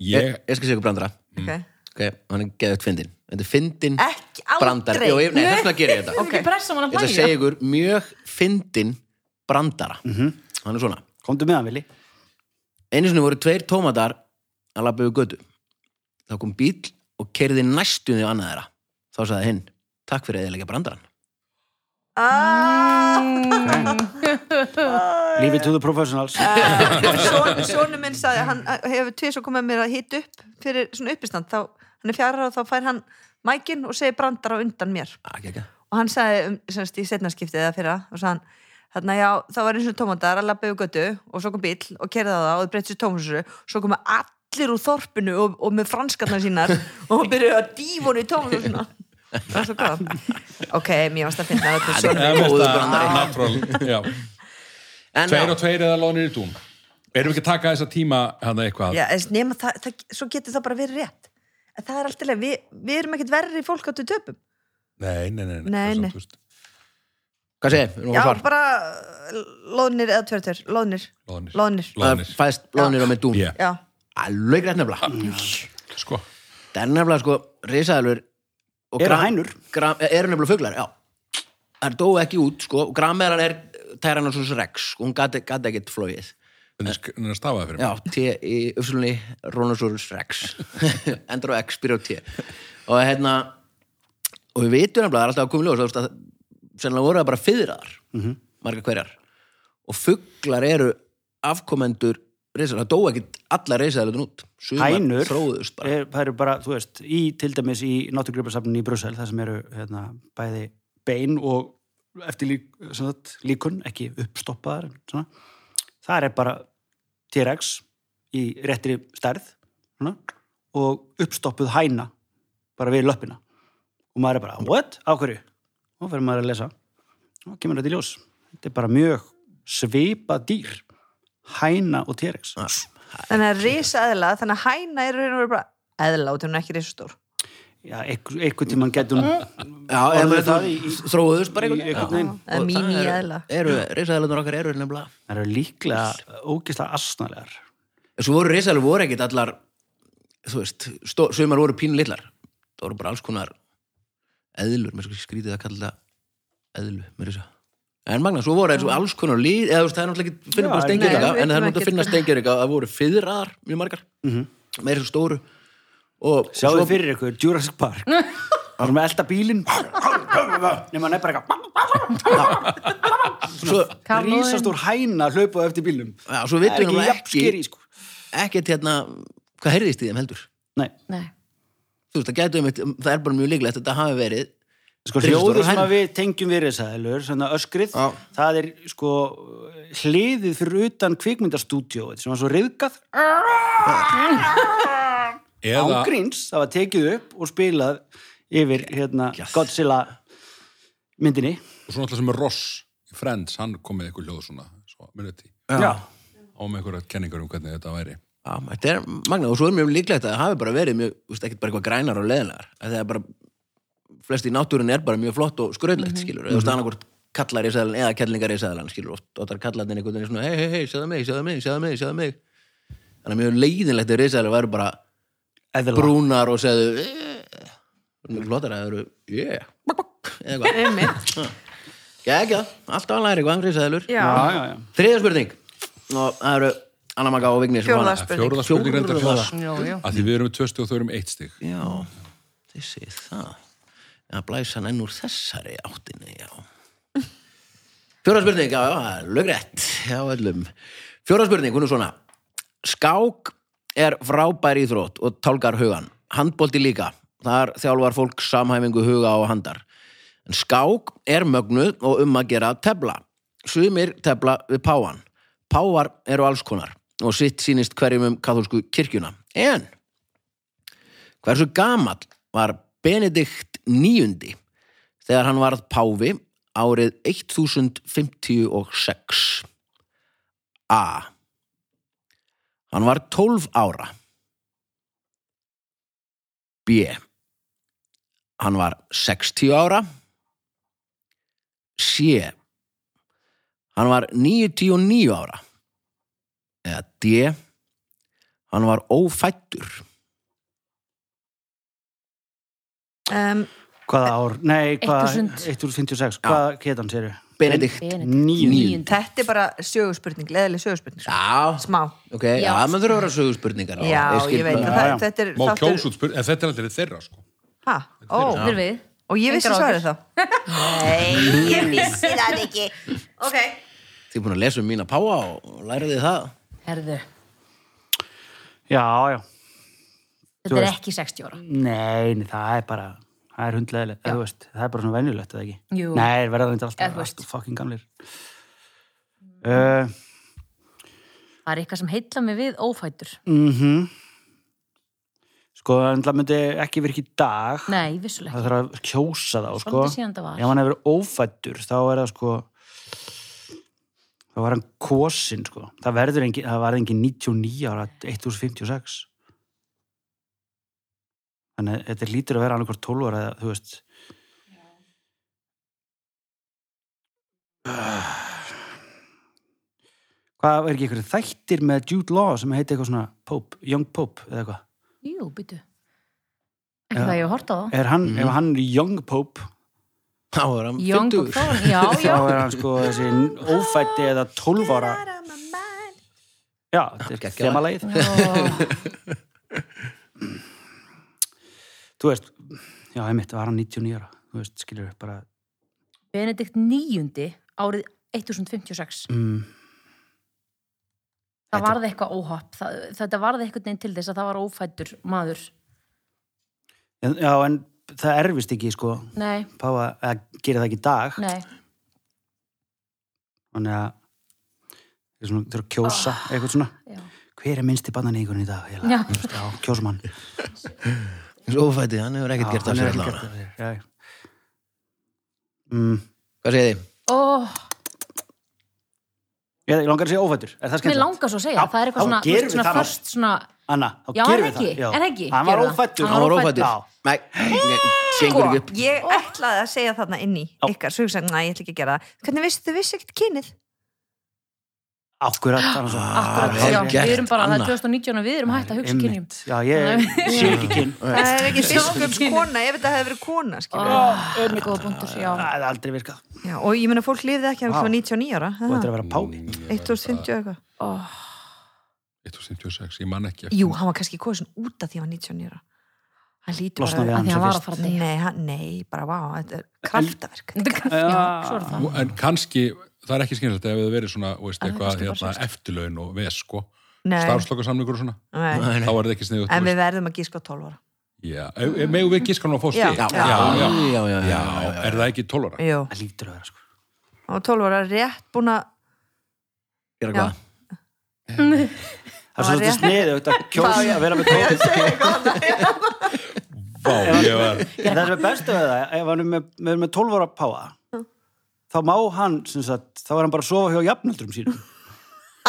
S1: Ég,
S2: Ég,
S1: ég skal segja ykkur brandara.
S3: Okay.
S1: Ok, hann er geðvægt fyndin. Þetta er fyndin
S3: Ekki
S1: brandara.
S3: aldrei.
S1: Jó, ég, nei, þess vegna gerir ég þetta.
S5: Ekki pressa mann
S1: Ég
S5: að
S1: ætla að
S5: hlæja.
S1: segja ykkur mjög fyndin brandara.
S2: Mhm.
S1: Hann er svona.
S4: Komdu með hann, Vili.
S1: Einu sinni voru tveir tómatar að labba yfir götu. Þá kom bíl og kerði næstunni á annað þeirra. Þá sagði hinn, takk fyrir eða leggja brandaran.
S3: Ah,
S4: Lífið to the professionals.
S3: Són, Sónu minn sagði, hann hefur tvið svo komið mér að hita upp fyrir svona uppistand, þá hann er fjara og þá fær hann mækin og segir brandar á undan mér
S1: Ekki, ekki.
S3: og hann sagði, um, semst í setnaskiptið eða fyrra og sagði hann, þarna já, þá var eins og tómatar að labba yfir götu og svo kom bíl og kerði það og þau breytti sér tómasursu svo komu allir úr þorpinu og, og með franskarnar sínar og byrjuðu að dífunu í tómasusuna það var svo góð ok, mér varst að finna þetta svo
S2: ég
S1: góður
S2: veist
S1: brandari.
S2: það, natural, já.
S1: En
S2: Tveir
S1: já,
S2: og tveir eða loðnir í dún. Erum við ekki að taka þessa tíma hann eitthvað?
S3: Já, en nema það, það, svo getur það bara verið rétt. En það er alltaf leið, við, við erum ekkert verri fólk áttu töpum.
S2: Nei, nei, nei. nei,
S3: Nei,
S2: það er samt,
S3: nei.
S2: þú veist,
S1: hvað segir? Við erum
S3: Já,
S1: að fara.
S3: bara uh, loðnir eða tvörtur, loðnir.
S2: Loðnir.
S3: Loðnir,
S1: Það
S2: Loðnir.
S1: fæðist blóðnir á með dún.
S2: Já,
S3: já.
S1: Alveg rétt nefnilega.
S4: Ah.
S2: sko.
S1: Það er nefnilega sko risaðalur og
S4: Eru
S1: gram-
S4: hænur?
S1: gram- eh, Eru nefnilega fuglar, já Það dóu ekki út, sko Grameran er Tyrannosaurus rex og hún gati, gati ekkit flóið
S2: Þannig sk- þannig að stafa það fyrir mig.
S1: Já, T í uppsölunni Ronosaurus rex Endur á X, byrja á T og hérna og við vitum nefnilega, það er alltaf að koma í ljós þú veist, að sennilega voru það bara fyrðraðar
S4: Mhm.
S1: margar hverjar og fuglar eru afkomendur risaðalur, það dóu ekkit alla risaðalur út Sumar
S4: Hænur,
S1: þróðust bara
S4: er, það eru bara, þú veist, í til dæmis í náttúrgripasafninu í Brussel, það sem eru hérna, bæði bein og eftir lík, sem sagt, líkun, ekki uppstoppaðar, en svona. Það er bara T-Rex í réttri stærð svona, og uppstoppuð hæna bara við löppina og maður er bara, what? Á hverju? og fyrir maður að lesa og kemur þetta í ljós þetta er bara mjög svipa dýr hæna og t-rex
S1: Ah.
S3: Þannig að risa eðla, þannig að hæna er raun og verið bara eðla og hún er ekki risastór.
S4: já, einhver, einhver tímann getur hún
S1: Já, eða
S4: Orðið það
S1: það
S4: í- í-
S1: þróuðust bara
S4: í einhvern veginn.
S1: einhvern
S3: Það er mín í eðla.
S1: Eru, risaðalunar okkar eru nefnilega.
S4: það eru líklega ógislega asnalegar
S1: En Svo voru risaðalur voru ekkit allar, þú veist, stó, sumar voru pínu litlar. Það voru bara alls konar eðlur, mér sko skrítið að kalla það eðlu, mér þess að. En Magna, svo voru eins og alls konar líð, eða þú veist, það er náttúrulega ekki finnum bara
S4: Já,
S1: stengjur
S3: nei, við
S1: en það er
S3: vitum
S1: náttúrulega að finna
S3: ekkert.
S1: stengjur það voru fyrraðar, mjög margar, meira svo stóru. Og
S4: Mhm. sjáðu
S1: svo-
S4: fyrir ykkur Jurassic Park það er með elda bílinn nema hann er bara
S1: svo,
S4: eitthvað
S5: Kaflóðin.
S4: rísast úr hæna hlaupa eftir bílnum
S1: já, svo
S4: það er
S1: vitum
S4: ekki
S1: við
S4: jafn skeri
S1: ekki,
S4: sko.
S1: ekkert hérna, hvað heyrðist í þeim heldur?
S4: nei
S5: Nei.
S1: þú veist, það gætu einmitt, það er bara mjög líklegt að þetta hafi verið
S4: Sko
S1: Þrisvar
S4: hljóðið
S1: og
S4: sem
S1: hærra.
S4: að við tengjum við risaðilur, svona öskrið,
S1: Já.
S4: það er sko hliðið fyrir utan kvikmyndastúdíóið sem var svo reyðgað
S2: eða,
S4: ángríns, það var tekið upp og spilað yfir hérna
S1: Yes.
S4: Godzilla myndinni.
S2: og svona alltaf sem er Ross í Friends, hann kom með eitthvað hljóð svona, svo minuti,
S4: Já.
S2: á með eitthvað kenningar um hvernig þetta væri.
S1: já, þetta er magnað og svo er mjög líklegt að það hafi bara verið mjög, þú veist, ekkert bara eitthvað grænar og leðinlegar það er bara, flest í náttúrun er bara mjög flott og skröðlegt, skilur eða þú veist, annarkvort kallar í sæðlan eða kellingar í sæðlan, skilur, oft, oft er kallarnir einhvern veginn svona, hei, hei, hei, sjáðu mig, sjáðu mig, sjáðu mig, sjáðu mig þannig að mjög leiðinlegt er risaðalir væru bara
S4: Eðla.
S1: brúnar og segðu "Eh." mjög flottar að það eru, yeah, bak, bak, eða eitthvað,
S3: Einmitt.
S1: gegja, alltaf að læra eitthvað, um risaðalur
S3: Já.
S4: Já, já, já.
S1: Þriðja spurning og það eru Anna Magga og Vignis
S3: Fjórða
S1: Jóhanna.
S3: Spurning.
S2: Fjóruða spurning reyndar
S1: Fjórða.
S2: fjóra.
S5: Já, já.
S2: Að því við erum með tvö stig og þau erum með eitt stig.
S1: Já, þessi það að blæsa hann enn úr þessari áttinni, já Fjóra spurning, já, já, lögrétt já, öllum. Fjóra spurning, hún er svona Skák er frábær íþrótt og tálgar hugan handbolti líka, þar þjálfar fólk samhæfingu huga og handar en skák er mögnuð og um að gera að tefla sumir tefla við páan páar eru alls konar og sitt sýnist hverjum um katholsku kirkjuna en Hversu gamall var Benedikt níundi þegar hann varð páfi árið 1056? A. Hann var 12 ára. B. Hann var 60 ára. C. Hann var 99 ára. Eða D. Hann var ófættur.
S3: Um,
S4: Hvaða ár? Nei, hvað?
S5: 1000.
S4: 1056. Hvað geta hann, segir við?
S1: Benedikt
S4: Níu.
S1: Níundi.
S3: þetta er bara sögurspurning, leðileg sögurspurning.
S1: Já,
S3: sko. Smá.
S1: ok, já,
S5: Já.
S1: maður þurfa að vera sögurspurningar
S3: Já, ég veit.
S4: bara.
S3: að það-
S4: Já, já.
S3: Þetta er
S2: Má kjósa út spurning, en þetta er aldrei þeirra, sko.
S3: Hæ? Ó,
S5: Við við.
S3: og ég vissi
S5: Engar
S3: svarið
S5: áhyggjur.
S3: þá. Nei, ég vissi það ekki. Ok.
S1: Þið er búin að lesa um mína páa og læra þið það
S5: Herðu,
S4: Já, já.
S5: þetta er ekki 60 ára.
S4: Nei, nei, það er bara, það er hundleðilegt, þú veist, það er bara svona venjulegt, eða ekki?
S5: Jú.
S4: Nei, það verða þetta
S5: Eða þú
S4: alltaf,
S5: veist.
S4: alltaf fucking gamlir. Uh,
S5: Það er eitthvað sem heilla mig við ófætur.
S4: mm Sko, það myndi ekki verið ekki í dag.
S5: Nei, vissulega.
S4: Það þarf að kjósa þá, sko.
S5: Svolítið síðan það var.
S4: Ef hann hefur verið ófættur, þá er það sko, þá var hann kosin, sko. Það verður engin, það var engin 99 ára, 1056. Þannig að þetta lítur að vera annað hvort 12 ára, eða, þú veist. Hvað er ekki einhverju þættir með Jude Law sem heiti eitthvað svona Pope, Young Pope eða eitthvað?
S5: Jú, býtu. Ekki það ég hef hort á það.
S4: Er hann, ef hann er Young Pope,
S1: Þá er hann
S5: Young
S1: 50
S5: Buffon, já,
S4: þá
S5: já.
S4: er hann sko þessi ófætti eða 12 ára já, þetta er
S1: Geggjað.
S4: þemalegið
S5: Ó,
S4: þú veist, já, einmitt, var hann 99 ára þú veist, skilur við bara
S5: Benedikt níundi árið 1056.
S4: mm,
S5: Það varði eitthvað óhopp. Það, þetta varði eitthvað neginn til þess að það var ófætur maður.
S4: en, já, en það erfist ekki sko,
S5: Nei,
S4: páfa, eða gerir það ekki í dag
S5: nei.
S4: þannig að það er svona, það er að kjósa eitthvað svona,
S5: Ah, Já.
S4: hver er minnsti bannaníkurinn í dag? eiginlega?
S5: Já.
S4: Þú veist, Já, kjósum hann.
S1: eins og ófætið, hann hefur ekkert
S4: Já,
S1: gert
S4: hann
S1: það
S4: er
S1: sér
S4: ekki
S1: allavega.
S4: gert það sér, já. Mm,
S1: Hvað segir þið?
S5: Ó,
S4: Ég ég langar að segja ófættur. Er það
S5: mér
S4: skemmt?
S5: langar svo að segja,
S4: Já,
S5: það er
S4: þá
S5: eitthvað svona,
S4: gerum við
S5: svona
S4: það nú.
S5: först svona,
S4: Anna, þá
S5: Já,
S4: gerum
S5: en
S4: við það.
S5: ekki, en ekki,
S4: Hann var
S5: gerum það.
S4: ófættur.
S5: Hann
S1: Hann var ófættur.
S5: ófæddur.
S4: Já.
S1: Nei, nei, gengur ekki upp.
S3: sko, ég ætlaði að segja þarna inn í ykkar, svo hugsaði, næ, ég ætla ekki að gera það hvernig veistu þau vissi ekkert kynið?
S4: Akkurat, þannig að um
S5: akkurat,
S1: vel
S5: já,
S1: gert,
S5: við erum bara, það
S1: Anna.
S5: er 2019 og við erum hægt að hugsa kynjum.
S4: Já, ég sé ekki kyn.
S3: það er ekki
S5: Sjá kynið.
S3: biskupskona, ef þetta hefði verið kona
S5: Ó,
S4: Ah.
S3: skilurðu.
S5: góða búndur, já.
S4: Það er aldrei virkað.
S3: já, og ég meina fólk lifði ekki hann
S4: Vá.
S3: wow. 99 ára
S4: Þú ættir að vera páfi.
S2: Mm, ég var
S3: 150 eitthvað
S5: Ó,
S2: 156, ég man ekki eftir.
S3: Jú, hann var kannski kosin út af því að hann var 19 ára. Hann lítur
S4: Losna við
S5: að
S3: bara
S4: hann.
S5: því
S4: sem
S5: hann var
S4: fyrst.
S5: að fara að deyja.
S3: Nei, hann, nei, bara vá, þetta er kraftaverk.
S5: Já, svo er það.
S2: En kannski, það er ekki skynilegt ef það verið svona, þú veist,
S5: En það
S2: eitthvað
S5: kannski bara
S2: hérna,
S5: svona-
S2: eftirlaun og ves, sko,
S3: Nei,
S2: starfslokkarsamlingur og svona,
S3: nei,
S1: Nei,
S2: þá
S1: nei.
S2: er það ekki sniðut.
S3: en við verðum að gíska á 12 ára.
S2: Já, ef- ef- megum við gískanum að fá
S3: Já.
S2: stík?
S1: Já, já, já, já, já, já, já, já.
S2: er það ekki 12 ára?
S3: Jú,
S4: Það lítur að vera, sko.
S3: hann var 12 ára rétt búin að,
S1: Gera hvað?
S4: Það er svolítið sniðið, þetta kjósa að vera með kjósa.
S2: Vá, ég var...
S4: Það sem er bestu við það, ef hann er með, með, með 12 ára páfa, þá má hann, sem sagt, þá er hann bara að sofa hjá jafnöldrum sínum.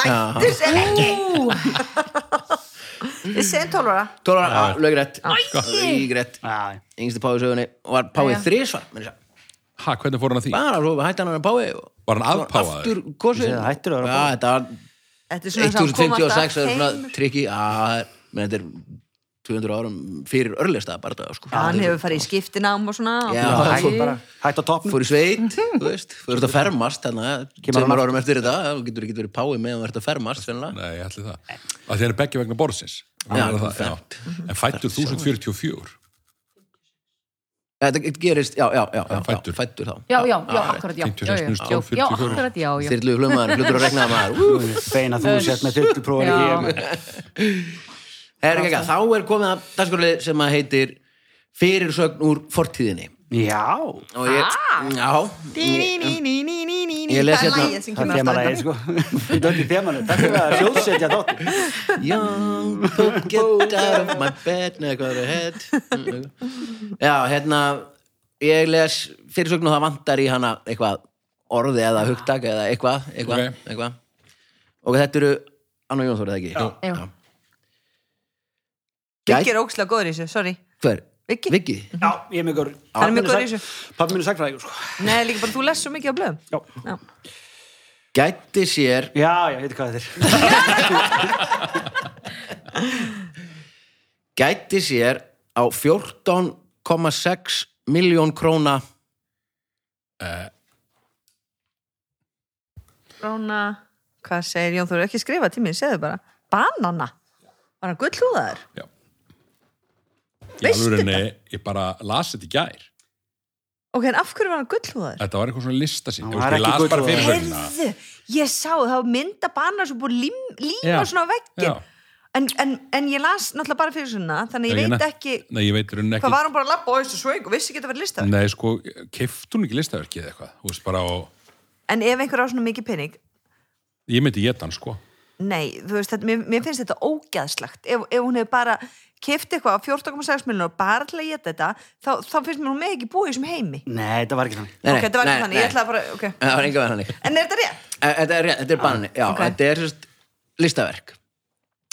S3: ættu sér ekki. Ég segi 12 ára.
S1: Tóra, á, lögrætt.
S5: Æi!
S1: Lögrætt.
S4: Já, já.
S1: Sko, Yngsti páfi í sögunni. Og var páfi
S5: Já.
S1: þrísvar. meira að segja.
S2: Hæ, hvernig fór hann að því?
S1: Bara svo hætti hann að vera páfi. og-
S2: Var hann
S1: svo
S2: afpáfaður?
S1: Aftur kosið.
S4: Ég segi, hættur að vera
S1: Já,
S4: páfi.
S1: þetta var
S3: Þetta er svona þess að koma
S1: 1056,
S3: alltaf
S1: það er
S3: heim.
S1: svona trikki. Já, það er- menn þetta er 200 árum fyrir örlista bara það, sko.
S3: Hann hefur farið í skiptinám og svona.
S1: Já,
S3: og-
S1: það
S4: Hætt bara, hætt á toppnum.
S1: fór í sveit, þú veist, fór út að fermast þannig að
S4: Kemur hann
S1: tveimur
S4: aftur?
S1: árum eftir þetta, þú getur ekki verið páið með að verða að fermast, finnilega.
S2: Nei, ég ætli það. Að þið eru begge vegna borðsins.
S1: Já,
S2: Var það-
S1: fermt.
S3: Mhm.
S2: En fættur 1044.
S1: Þetta gerist, já, já, já, já,
S2: fæddur.
S1: já fættur þá.
S5: Já, já, já, akkurat, já.
S2: 56
S5: Já, já,
S2: minus
S5: já.
S2: 12,
S5: Já,
S2: 44.
S5: akkurat, já, já.
S1: Þyrlu flömaður, hlutur að regna það maður. Ú,
S4: Beina þú sett með þyrluprófari
S5: Já.
S4: hér.
S1: Herra kaka, þá er komið að dagskorlið sem að heitir fyrirsögn úr fortíðinni.
S4: Já,
S1: Og ég, já, Ég
S3: Ég
S1: les hérna-
S4: það er þemalægið, sko. Þetta er þemalægið, takk fyrir að sjóðsetja þátt.
S1: young folk get out of my bed, neða hvað er head. Já, hérna, ég les fyrirsögn og það vantar í hana eitthvað orði eða hugtak eða eitthvað, eitthvað,
S2: Ok.
S1: eitthvað. Og þetta eru, Anna Jónsson, er það ekki? Já.
S5: Já.
S3: Viggi er ókslega góður í þessu, sorry.
S1: Hver?
S3: Viggi?
S1: Viggi?
S4: Já, ég er mjög góður.
S3: Hann er mjög góður í þessu.
S4: Pappi minn er sagfræðingur, sko.
S3: Nei, líka bara þú les svo mikið á blöðum.
S4: Já,
S3: Já.
S1: Gætti sér
S4: já, já, ég veit hvað þetta er.
S1: gætti sér á 14,6 miljón króna
S3: Rána, hvað segir Jón Þóri? Ekki skrifa til mér, segðu bara. Banana. Var hann gullhúðaður?
S2: Já. Í
S3: Veistu
S2: alvörinni, ég bara las þetta í gær.
S3: Ok, en af hverju var hann gullhúðaður?
S2: Þetta var eitthvað svona lista sín.
S4: Hann
S2: Ég
S4: var
S2: ég
S4: ekki
S2: las bara
S4: gullhúðaður.
S2: fyrir sögna.
S3: Herðu, ég sá það var mynda banana sem búið lím, líma
S2: Já.
S3: svona á veggin.
S2: Já.
S3: En, en, en ég las náttúrulega bara fyrir svona, þannig
S2: Já,
S3: ég
S2: ég
S3: veit
S2: nefnt-
S3: ekki,
S2: hérna-
S3: Mm.
S2: Nei, ég veit í rauninni
S3: hvað
S2: ekki.
S3: var hann bara að labba á þessu sveig og vissi ekki að þetta var listaður.
S2: Nei, sko, keftu hún ekki listaverkið eða eitthvað. Þú veist, bara á...
S3: En ef einhver á svona mikið pening,
S2: Ég myndi geta hann, sko.
S3: Nei, þú veist, þetta, mér, mér finnst þetta ógæðslagt ef, ef hún hefur bara keft eitthvað á 14,6 miljonar bara til að geta þetta þá, þá finnst mér hún með ekki búið í þessum heimi
S4: Nei, þetta var ekki þannig.
S1: Nei, nei,
S3: Ok, þetta var
S1: nei,
S3: ekki þannig,
S1: nei.
S3: ég ætlaði bara okay.
S1: það var enga verð hannig
S3: En er þetta rétt?
S1: Eh, þetta er, rétt, þetta er banni, já,
S3: ok.
S1: þetta er sérst, listaverk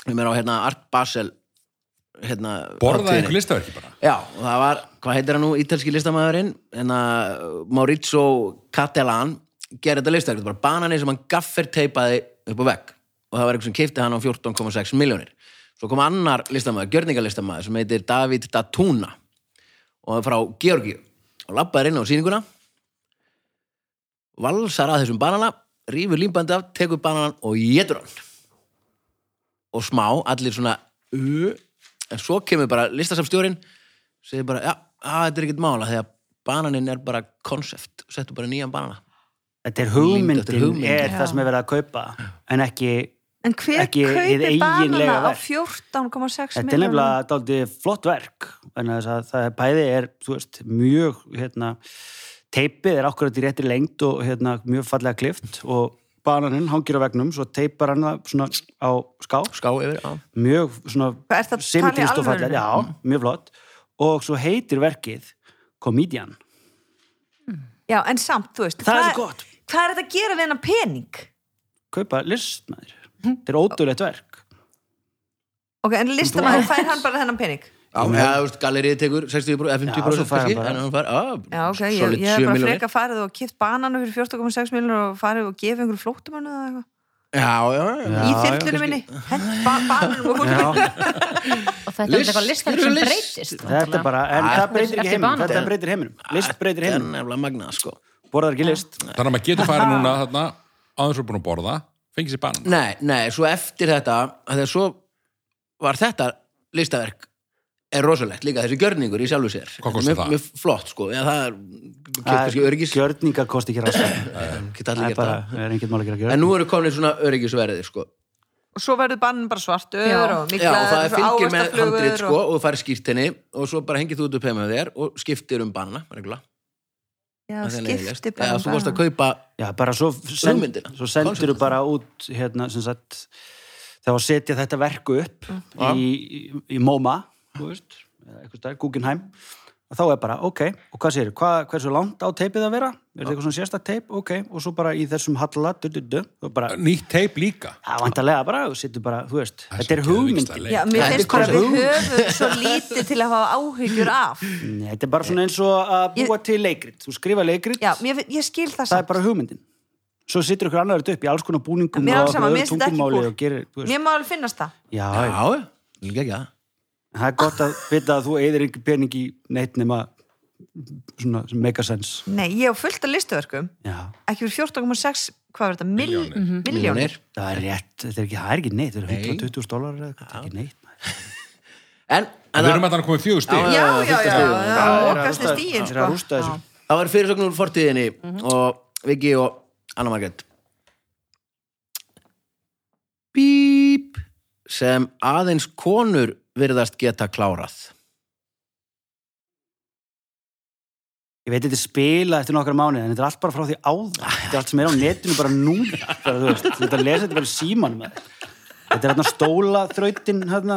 S1: við erum á hérna Art Basel hérna,
S2: Borðaði
S1: hátíðinni.
S2: einhver listaverki bara.
S1: já, og það var, hvað heitir hann nú ítalski listamæðurinn hérna, Maurizio Catalan gerði þetta listaverk, þetta var banani sem hann gafferteipaði upp á vegg og það var eitthvað sem keipti hann á 14,6 miljónir svo kom annar listamæður, gjörningalistamæður sem heitir David Datuna og það er frá Georgíu og labbaðir inn á sýninguna valsar að þessum banana rýfur límbandi af, tekur bananan og getur hann og smá, allir svona uh, en svo kemur bara listasafstjórin segir bara, já, að, þetta er ekkert mála því að bananinn er bara konsept settu bara nýjan banana
S4: Þetta er
S1: Mynd, þetta er
S4: hugmyndin,
S1: hugmyndin.
S4: er það sem er verið að kaupa, en ekki,
S3: En hver
S4: Ekki hið
S3: kaupir banana
S4: eiginlega
S3: á
S4: verð.
S3: 14,6
S4: þetta er
S3: miljonar?
S4: nefnilega dálítið flott verk, en þess að það er bæði er, þú veist, mjög, hérna, teipið er akkurat í réttri lengd og hérna, mjög fallega klift og bananinn hangir á vegnum, svo teipar hann það svona á ská,
S1: ská yfir á.
S4: mjög svona
S3: Hvað, ertu að tala í
S4: symmetrist og
S3: alvörunni?
S4: fallega, já, mjög flott og svo heitir verkið Comedian.
S3: Já, en samt, þú veist
S4: Það er
S3: hvað-
S4: svo gott.
S3: Hvað er þetta að gera við hennar pening?
S4: Kaupa list með þér.
S3: Hm?
S4: Þetta er ódöðlegt verk.
S3: Ok, en listamæður fær hann bara hennar pening
S1: Já, eða, þú veist, gallerið tekur 60 eða 50
S4: Já, svo fær hann
S1: kannski,
S4: bara.
S1: en hann fær,
S3: Já,
S1: á,
S3: ok, ég,
S1: solid
S3: ég er
S1: 7
S3: bara
S1: miljonir.
S3: freka farið og kipt bananu fyrir 14,6 miljonur og farið og gefið einhverju flóttumannu eða eitthvað
S1: Já, já, já.
S3: Í
S4: já,
S3: þyrlunum minni, hent ba bananum og
S4: Já,
S3: fólkum
S5: og þetta er
S1: List-
S5: eitthvað listar
S1: eru
S5: sem
S1: list.
S5: breytist
S4: þetta er bara, en
S1: Æ,
S4: það breytir
S5: eftir
S4: ekki heiminum.
S5: banan.
S4: Þetta breytir heiminum.
S1: Ah,
S4: List breytir
S1: Það er
S4: heiminum.
S1: nefnilega magnað, sko.
S4: Borðar ekki list.
S2: Þannig að maður getur farið núna þarna aðeins og búin að borða, fengið sér banan.
S1: Nei, nei, svo eftir þetta, þegar svo var þetta listaverk er rosalegt líka, þessi gjörningur í sjálfu sér.
S2: Hvað kostar
S1: Mjög-
S2: það?
S1: Mjög flott, sko. Já, það er,
S4: Það
S1: kjöptu
S4: er
S1: Ah, öryggis,
S4: gjörningar kosti ekki ráðstæðan.
S1: geta
S4: Það
S1: allir
S4: er
S1: gert
S4: bara,
S1: það.
S4: það er enginn mál að gera
S1: En
S4: gjörningar.
S1: nú eru komin svona öryggisverðið, sko.
S3: og svo verður bannin bara svartur
S5: Já.
S3: og
S1: Já, og það er
S3: miklaður og
S1: fylgir með
S3: ávaxtaflugur
S1: handrit, sko,
S3: og...
S1: og þú færi skýrtinni og svo bara hengið þú út upp heima með þér og skiptir um banana, regla.
S3: Já,
S1: Það er leiðilegt.
S3: skipti bara
S1: Já,
S3: um
S1: þú mást að
S3: banan.
S1: kaupa,
S4: Já, bara svo, send,
S1: Hugmyndina.
S4: svo sendir þú
S1: Konseptið.
S4: bara út hérna, sem sagt, þegar að setja þetta verku upp
S1: Mm.
S4: í, í, í MoMA, þú veist, eða eitthvað stær, Guggenheim, og þá er bara, ok, og hvað segir, hva, hversu langt á teipið að vera? Er þetta eitthvað svona sérsta teip? Ok, og svo bara í þessum halla, du, du, du, og bara,
S2: Nýtt teip líka.
S4: það vantarlega bara, þú setur bara, þú veist,
S2: Það
S4: þetta er
S2: svo geðveikislega
S4: hugmyndin.
S2: leið.
S3: Já, mér
S1: Þetta er
S3: finnst bara að við
S1: konsept.
S3: höfum svo lítið til að hafa áhyggjur af
S4: Nei, Þetta er bara svona eins og að búa til leikrit, þú skrifa leikrit,
S3: Já, mér, fin- ég skil það
S4: það er
S3: samt
S4: bara hugmyndin. Svo situr ykkur annar upp í alls konar búningum
S3: Mér er alveg
S4: og
S3: sama,
S4: öðru
S3: mér finnst þetta ekki
S4: tungumáli
S3: cool.
S4: og gerir, þú veist,
S3: Mér má alveg finnast það
S4: já,
S1: já,
S4: já.
S1: já, líka ekki það.
S4: það er gott að vita að þú eigðir einhver pening í neitt nema svona sem make a sense
S3: Nei, ég hef fullt af listuverkum
S4: já,
S3: ekki fyrir 14,6, hvað var þetta,
S2: Milljónir.
S3: miljónir Miljónir
S1: Miljónir.
S4: það er rétt, þetta er ekki, það er ekki neitt það er 120 dólarar eða eitthvað, þetta er ekki neitt maður.
S1: En, en
S2: Við erum að þannig komið fjögur stíl.
S3: Já, já,
S1: fullt af
S3: já,
S1: stigum.
S3: já,
S4: Það er að
S3: okkast er
S4: rústa-
S3: stíin
S4: það er
S3: sko
S4: að rústa þessu.
S3: Já.
S1: Það var fyrirsögnum úr fortíðinni
S3: Mhm.
S1: og Viki og Anna Margrét Bíp sem aðeins konur virðast geta klárað
S4: ég veit þetta er spila eftir nokkra mánuði en þetta er allt bara frá því áður þetta er allt sem er á netinu bara nú bara, þú veist, þetta lesa þetta bara síman með þetta er hérna stóla þrautin hérna,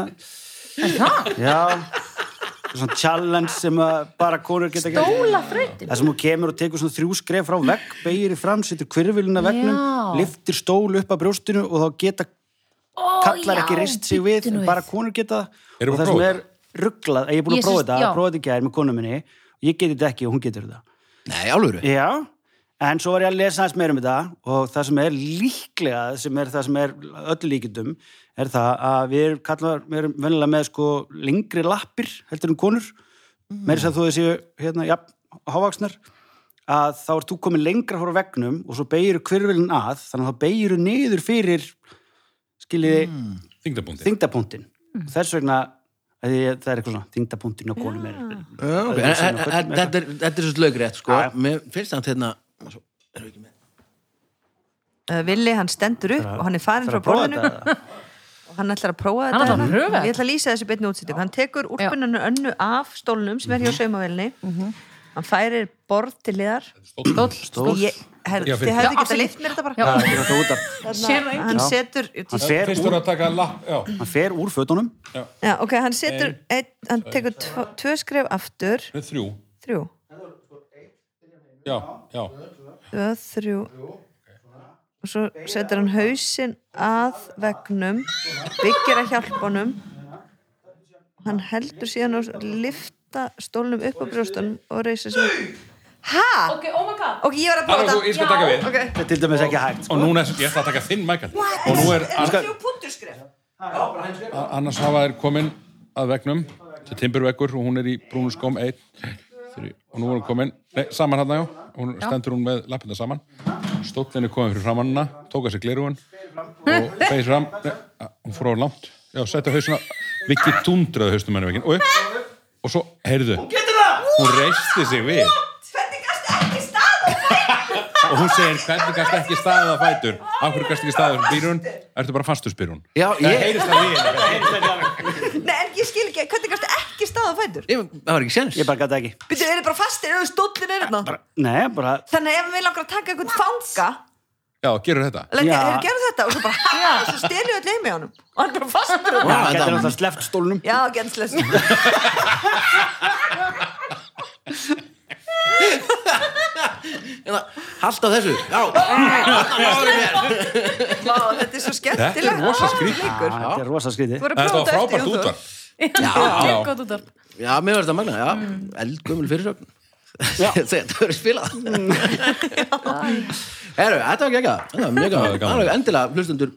S5: en það,
S4: já þetta er svona challenge sem að bara konur geta gert.
S5: dóla þrautin
S4: Það sem þú kemur og tekur svona þrjú skref frá vegg, beigir í fram, setur kvirviluna vegnum,
S5: Já.
S4: liftir stól upp að brjóstinu og þá geta kallar ekki rist sig við,
S5: bíddu nú við.
S4: bara konur geta það.
S2: Erum
S4: og
S2: við að
S4: það sem
S2: prófa
S4: er rugglað, ég er búin
S5: Ég
S4: að prófa
S5: syns-
S4: þetta,
S5: já.
S4: að prófa þetta í gær með konu minni, ég geti þetta ekki og hún getur þetta.
S1: Nei, alvöru
S4: Já, en svo var ég að lesa aðeins meira um þetta og það sem er líklega, sem er það sem er öll líkindum, er það að við erum kallar, við erum venjulega með sko lengri lappir heldur en konur, meiri sem þú þessi, hérna, já, hávaksnar að þá ert þú komin lengra frá vegnum og svo beigiru kvirvilin að þannig að þá beigiru niður fyrir skiljiði mm.
S2: Þingdabundi.
S4: þingdapunktin þess vegna að ég, það er eitthvað svona þingdapunktin á konum er
S1: Já, ok. En- en- en- Þetta er- þetta er svo slögrétt sko
S4: Já, já.
S1: Mér finnst það hérna erum við ekki með?
S3: Uh, Villi, hann stendur upp og hann er farin
S4: Það
S3: frá
S4: er að prófa
S3: borðinu
S4: þetta
S3: og hann ætlar að prófa
S5: Hann
S3: þetta
S5: ætlar að
S3: hérna.
S5: prófa þetta.
S3: Ég ætla að lýsa þessu beinni útsýttum Hann tekur úrpuninu önnu af stólnum sem
S5: Mhm.
S3: er hjá saumavelni Hann færir borð til liðar
S4: Stóll.
S3: Ég- her-
S2: Já,
S3: Þið
S2: fyrir-
S3: hefðu
S5: Já,
S3: getað
S5: afsakið.
S3: lift mér þetta bara
S4: Það er þetta út af
S5: Sér það
S3: Þarna,
S5: enginn?
S3: Hann
S4: Já.
S3: setur
S4: hann
S2: Fyrst
S4: fer, úr,
S2: voru að taka lapp, já.
S4: hann fer úr fötunum
S3: já, ok, Hann setur einn, Hann tekur tvo- tvö skref aftur
S2: Þetta er þrjú.
S3: Þrjú
S2: Já, já.
S3: Tvö, þrjú Og svo setur hann hausinn að vegnum Byggir að hjálpunum Hann heldur síðan að lifta stólnum upp á brjóstunum og reisir sig upp. Ha?
S5: ok, oh my god
S3: Ok, ég var að
S2: Anna,
S3: prófa
S2: þú, ég skal taka við.
S3: Ok
S4: þetta er til dæmis ekki hægt sko.
S2: Og núna, er- ég ætla að taka þinn, Michael. Og nú er
S4: Skal-
S3: Þrjú punkturskref
S2: annars hafa þær komin að vegnum til Timberveggur og hún er í brúnu skóm 1, 3 og nú er hún komin nei, saman hann já, hún stendur hún með lappina saman stóllin er komin fyrir framannina tók að sér glerugun og feir fram nei, að- hún fór á langt já, setja hausuna, Viki tundraði hausnum henni veginn og upp og svo, heyrðu, hún reisti sig við
S3: Hvernig gasta ekki stað og fæ-
S2: og hún segir, hvernig gæst ekki staðið að fætur af hverju gæst ekki staðið að býrun ertu bara fastur, spyr hún
S1: Já,
S2: það
S1: ég,
S2: heyrist það við henni
S3: Nei, en ég skil ekki Hvernig gasta ekki stað og fætur
S1: ég Það var ekki sens
S4: ég bara gæti ekki
S3: Býttu, hérna? er þið bara fastir, er þið stóllin er þetta
S4: Nei, bara,
S3: Þannig ef við langar að taka einhvern fanga
S2: já, gerur þetta
S3: Leggja,
S4: Já.
S3: þeir gerðu þetta og svo bara, ha, svo stelju öll heimi á honum og hann bara fastur
S4: Já,
S3: og
S4: þetta er alltaf sleft stólnum.
S3: já, gensles
S1: Hérna, Haltu á þessu, já Þetta
S3: Vá, þetta er svo skemmtilegt
S2: Þetta er rosa skrýt
S4: Já, þetta er rosa skrítið.
S3: Þú voru að
S2: Þetta
S3: prófa
S2: var
S3: þetta eftir
S2: frábært
S3: Jón Þór.
S2: útvarp
S5: já, gott út af
S1: Já, mér var þetta magna, já, eldgömmul fyrirsögn
S4: Mm. Já. Mm.
S1: Þetta verður spilað Herru, þetta var gegga Þetta var mjög
S2: Það var
S1: gaman,
S2: gaman.
S1: Alveg endilega hlustendur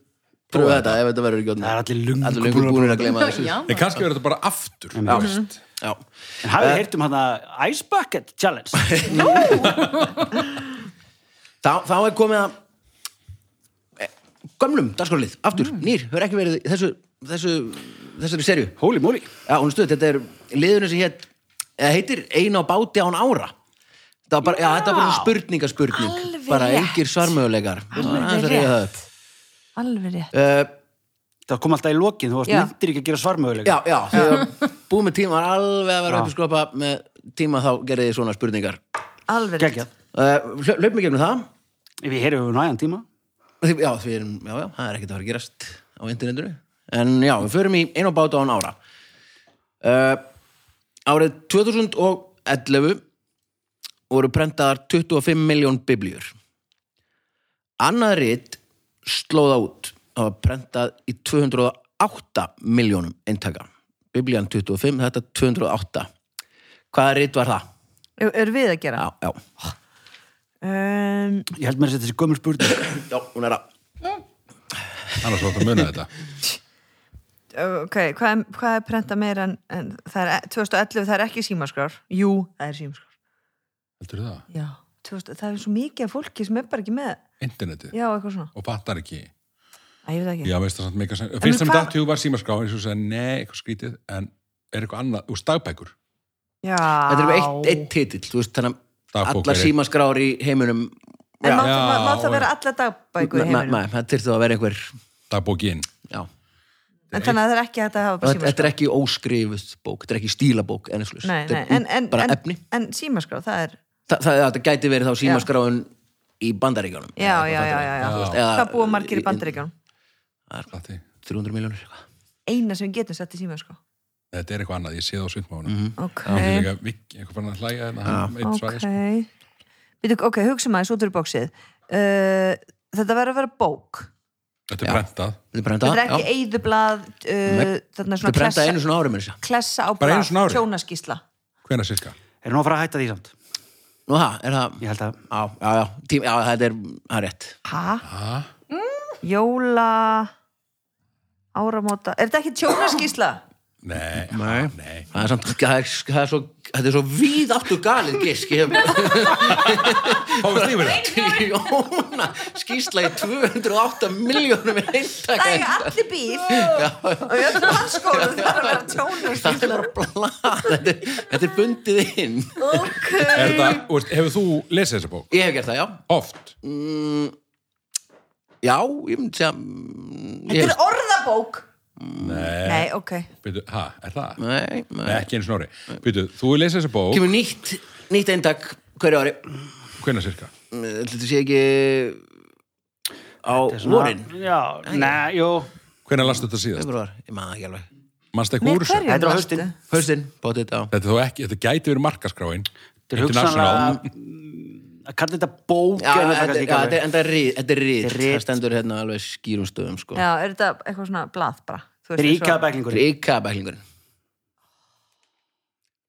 S1: pröfa þetta ef þetta verður ekki
S4: Það er allir löngu
S1: allir löngu
S4: búnir
S1: búinir að gleyma þessu
S5: já,
S2: En kannski verður þetta bara aftur þú
S4: Mm.
S2: veist.
S1: Já,
S4: En hafið þið heyrt um hann að Ice Bucket Challenge?
S1: þá, þá er komið að eh, gömlum dagskorlið, aftur,
S3: Mm.
S1: nýr, hefur ekki verið í þessu, þessu, þessari serju
S4: Holy moly.
S1: Já, hún stuð, þetta er liðurinn sem hét, eða heitir Einu á báti án ára Þetta var bara, já, þetta var bara spurningaspurning
S3: Alveg
S1: Bara
S3: rétt.
S1: engir svarmöguleikar
S3: Alveg rétt. alveg rétt
S1: uh,
S4: Það kom alltaf í lokin, þú varst
S3: Já.
S4: myndir ekki að gera
S1: Já,
S4: svarmöguleika.
S1: já, þegar búið með tíma var alveg að vera
S4: Já.
S1: upp í skropa með tíma þá gerði þið svona spurningar
S3: alveg rétt
S4: Gekkjað.
S1: uh, Hlaupum í gegnum það
S4: Við heyrum við næjan tíma.
S1: Því- Já, því erum, já, já, það er ekkert að fara að gerast á internetinu. En já, við förum í einu á báta án ára. Uh, árið 2011 voru prentaðar 25 miljón biblíur. Annað rít slóða út. Það var prentað í 208 miljónum eintaka. Biblían 25, þetta 208. Hvaða rít var það?
S3: er við að gera
S1: Já, já,
S3: um,
S4: Ég held mér að þetta sé gömur spurning.
S1: já, hún er að.
S2: annars var þetta að muna þetta
S3: ok, hvað er, hvað er prenta meira en, en það er e, 2011, það er ekki símaskrár jú, það er símaskrár
S2: heldur það,
S3: já, 2000, það er svo mikið af fólki sem er bara ekki með
S2: internetið
S3: já, eitthvað svona,
S2: og fattar ekki já,
S3: Æ, ég veit það ekki
S2: veist það samt meika sem fyrst sem
S3: hvað-
S2: datt hug var símaskrá eins og segja, nei, eitthvað skrítið en er eitthvað annað, úr stagbækur
S3: já.
S1: Þetta er bara eitt, eitt titill, þú veist, þannig að
S2: Dagbók
S1: allar
S2: er-
S1: símaskrár í heiminum
S3: en
S2: Já,
S3: má það- má- má það
S2: og-
S3: vera alla dagbækur í
S1: Nei,
S3: heiminum
S1: nei, það þyrfti þá að vera einhver
S2: dagbókin
S1: já.
S3: en þannig að það er ekki hægt að hafa bara
S1: Þetta þetta
S3: símaskrár
S1: er ekki óskrifust bók, þetta er ekki stílabók en,
S3: Nei, nei,
S1: en,
S3: en, en,
S1: bara
S3: en,
S1: efni
S3: en símaskrá, það er
S1: Þa, það, þetta gæti verið þá símaskráin í bandaríkjánum
S3: já, já, já, já, já.
S2: Já.
S1: Eða-
S3: hvað búa margir í bandaríkjánum
S2: það þið-
S1: 300 miljónir eitthvað.
S3: eina sem við getum sett í símaskrá
S2: þetta er eitthvað annað, ég sé það á svindmána mm
S3: ok,
S2: Það er líka vikk, eitthvað fann að hlæja en hann eitt svæði
S3: Eh. ok
S2: sko.
S3: Býtu, ok, hugsa um maður, svo fyrir bóksið uh, þetta verður að vera bók
S2: Þetta er brentað
S1: Þetta er brenda
S3: þetta er ekki eyðublað uh,
S1: Nei. Þetta
S3: þarna svona
S1: er brenda
S3: klessa,
S1: einu svona ári með þess
S3: klessa á
S2: Bara einu svona ári?
S3: tjónaskísla
S2: Hvenær sirka?
S4: Erum við að fara að hætta því samt?
S1: Nú það, er það
S4: Ég held að
S1: Já, já, já, tím, já þetta er, það er rétt
S3: ha? Mm.
S2: Ha?
S3: jóla áramóta, er þetta ekki tjónaskísla?
S2: Nei,
S1: Nei.
S2: nei.
S1: Það er samt, það er, það er svo, þetta er svo víðáttu galið gisk ég hef-
S2: Fáum stífur það
S1: Jóna, skýrsla í 208 miljónum eintaka
S3: það er allir bíl og ég öllum hans skóla það er að vera
S1: það er
S3: tjónaskísla
S1: bara blað þetta, er- þetta er bundið inn
S3: ok,
S2: Er það, þú veist, hefur þú lesið þessa bók?
S1: ég hef gert það, já
S2: Oft?
S1: já, ég myndi segja mm, ég hef-
S3: þetta er orðabók
S2: Nei
S3: nei, ok,
S2: Býtu, ha, er það?
S1: nei,
S2: Nei,
S1: nei.
S2: ekki einu snori Býtu, þú hefur lesið þessa bók
S1: kemur nýtt, nýtt eintak hverju ári
S2: Hvenær sirka?
S1: Mm, þetta sé ekki á
S4: Svona-
S1: vorin
S4: Já, nei, jú.
S2: Hvenær lastu þetta síðast?
S1: februar, ég maður það ekki alveg
S2: Manstu eitthvað
S3: með
S2: úr þessu?
S3: hverju
S4: Þetta er á
S3: varstu?
S4: haustin.
S1: haustinn, bótið þetta á
S2: Þetta er þó ekki, þetta gæti verið markaskráin
S4: Þetta er
S2: International.
S4: hugsanlega Mm, að kalla þetta bók
S1: Já,
S4: en
S1: þetta- já, þetta
S4: þetta
S1: er- en það er rít, þetta er rít.
S4: Þetta er rit.
S1: það stendur hérna alveg skýrum stöðum sko.
S3: já, er þetta eitthvað svona blað bara Þú veist,
S4: er
S3: eins og-
S4: íkjað
S1: þetta
S4: bæklingur.
S1: er ykka bæklingurinn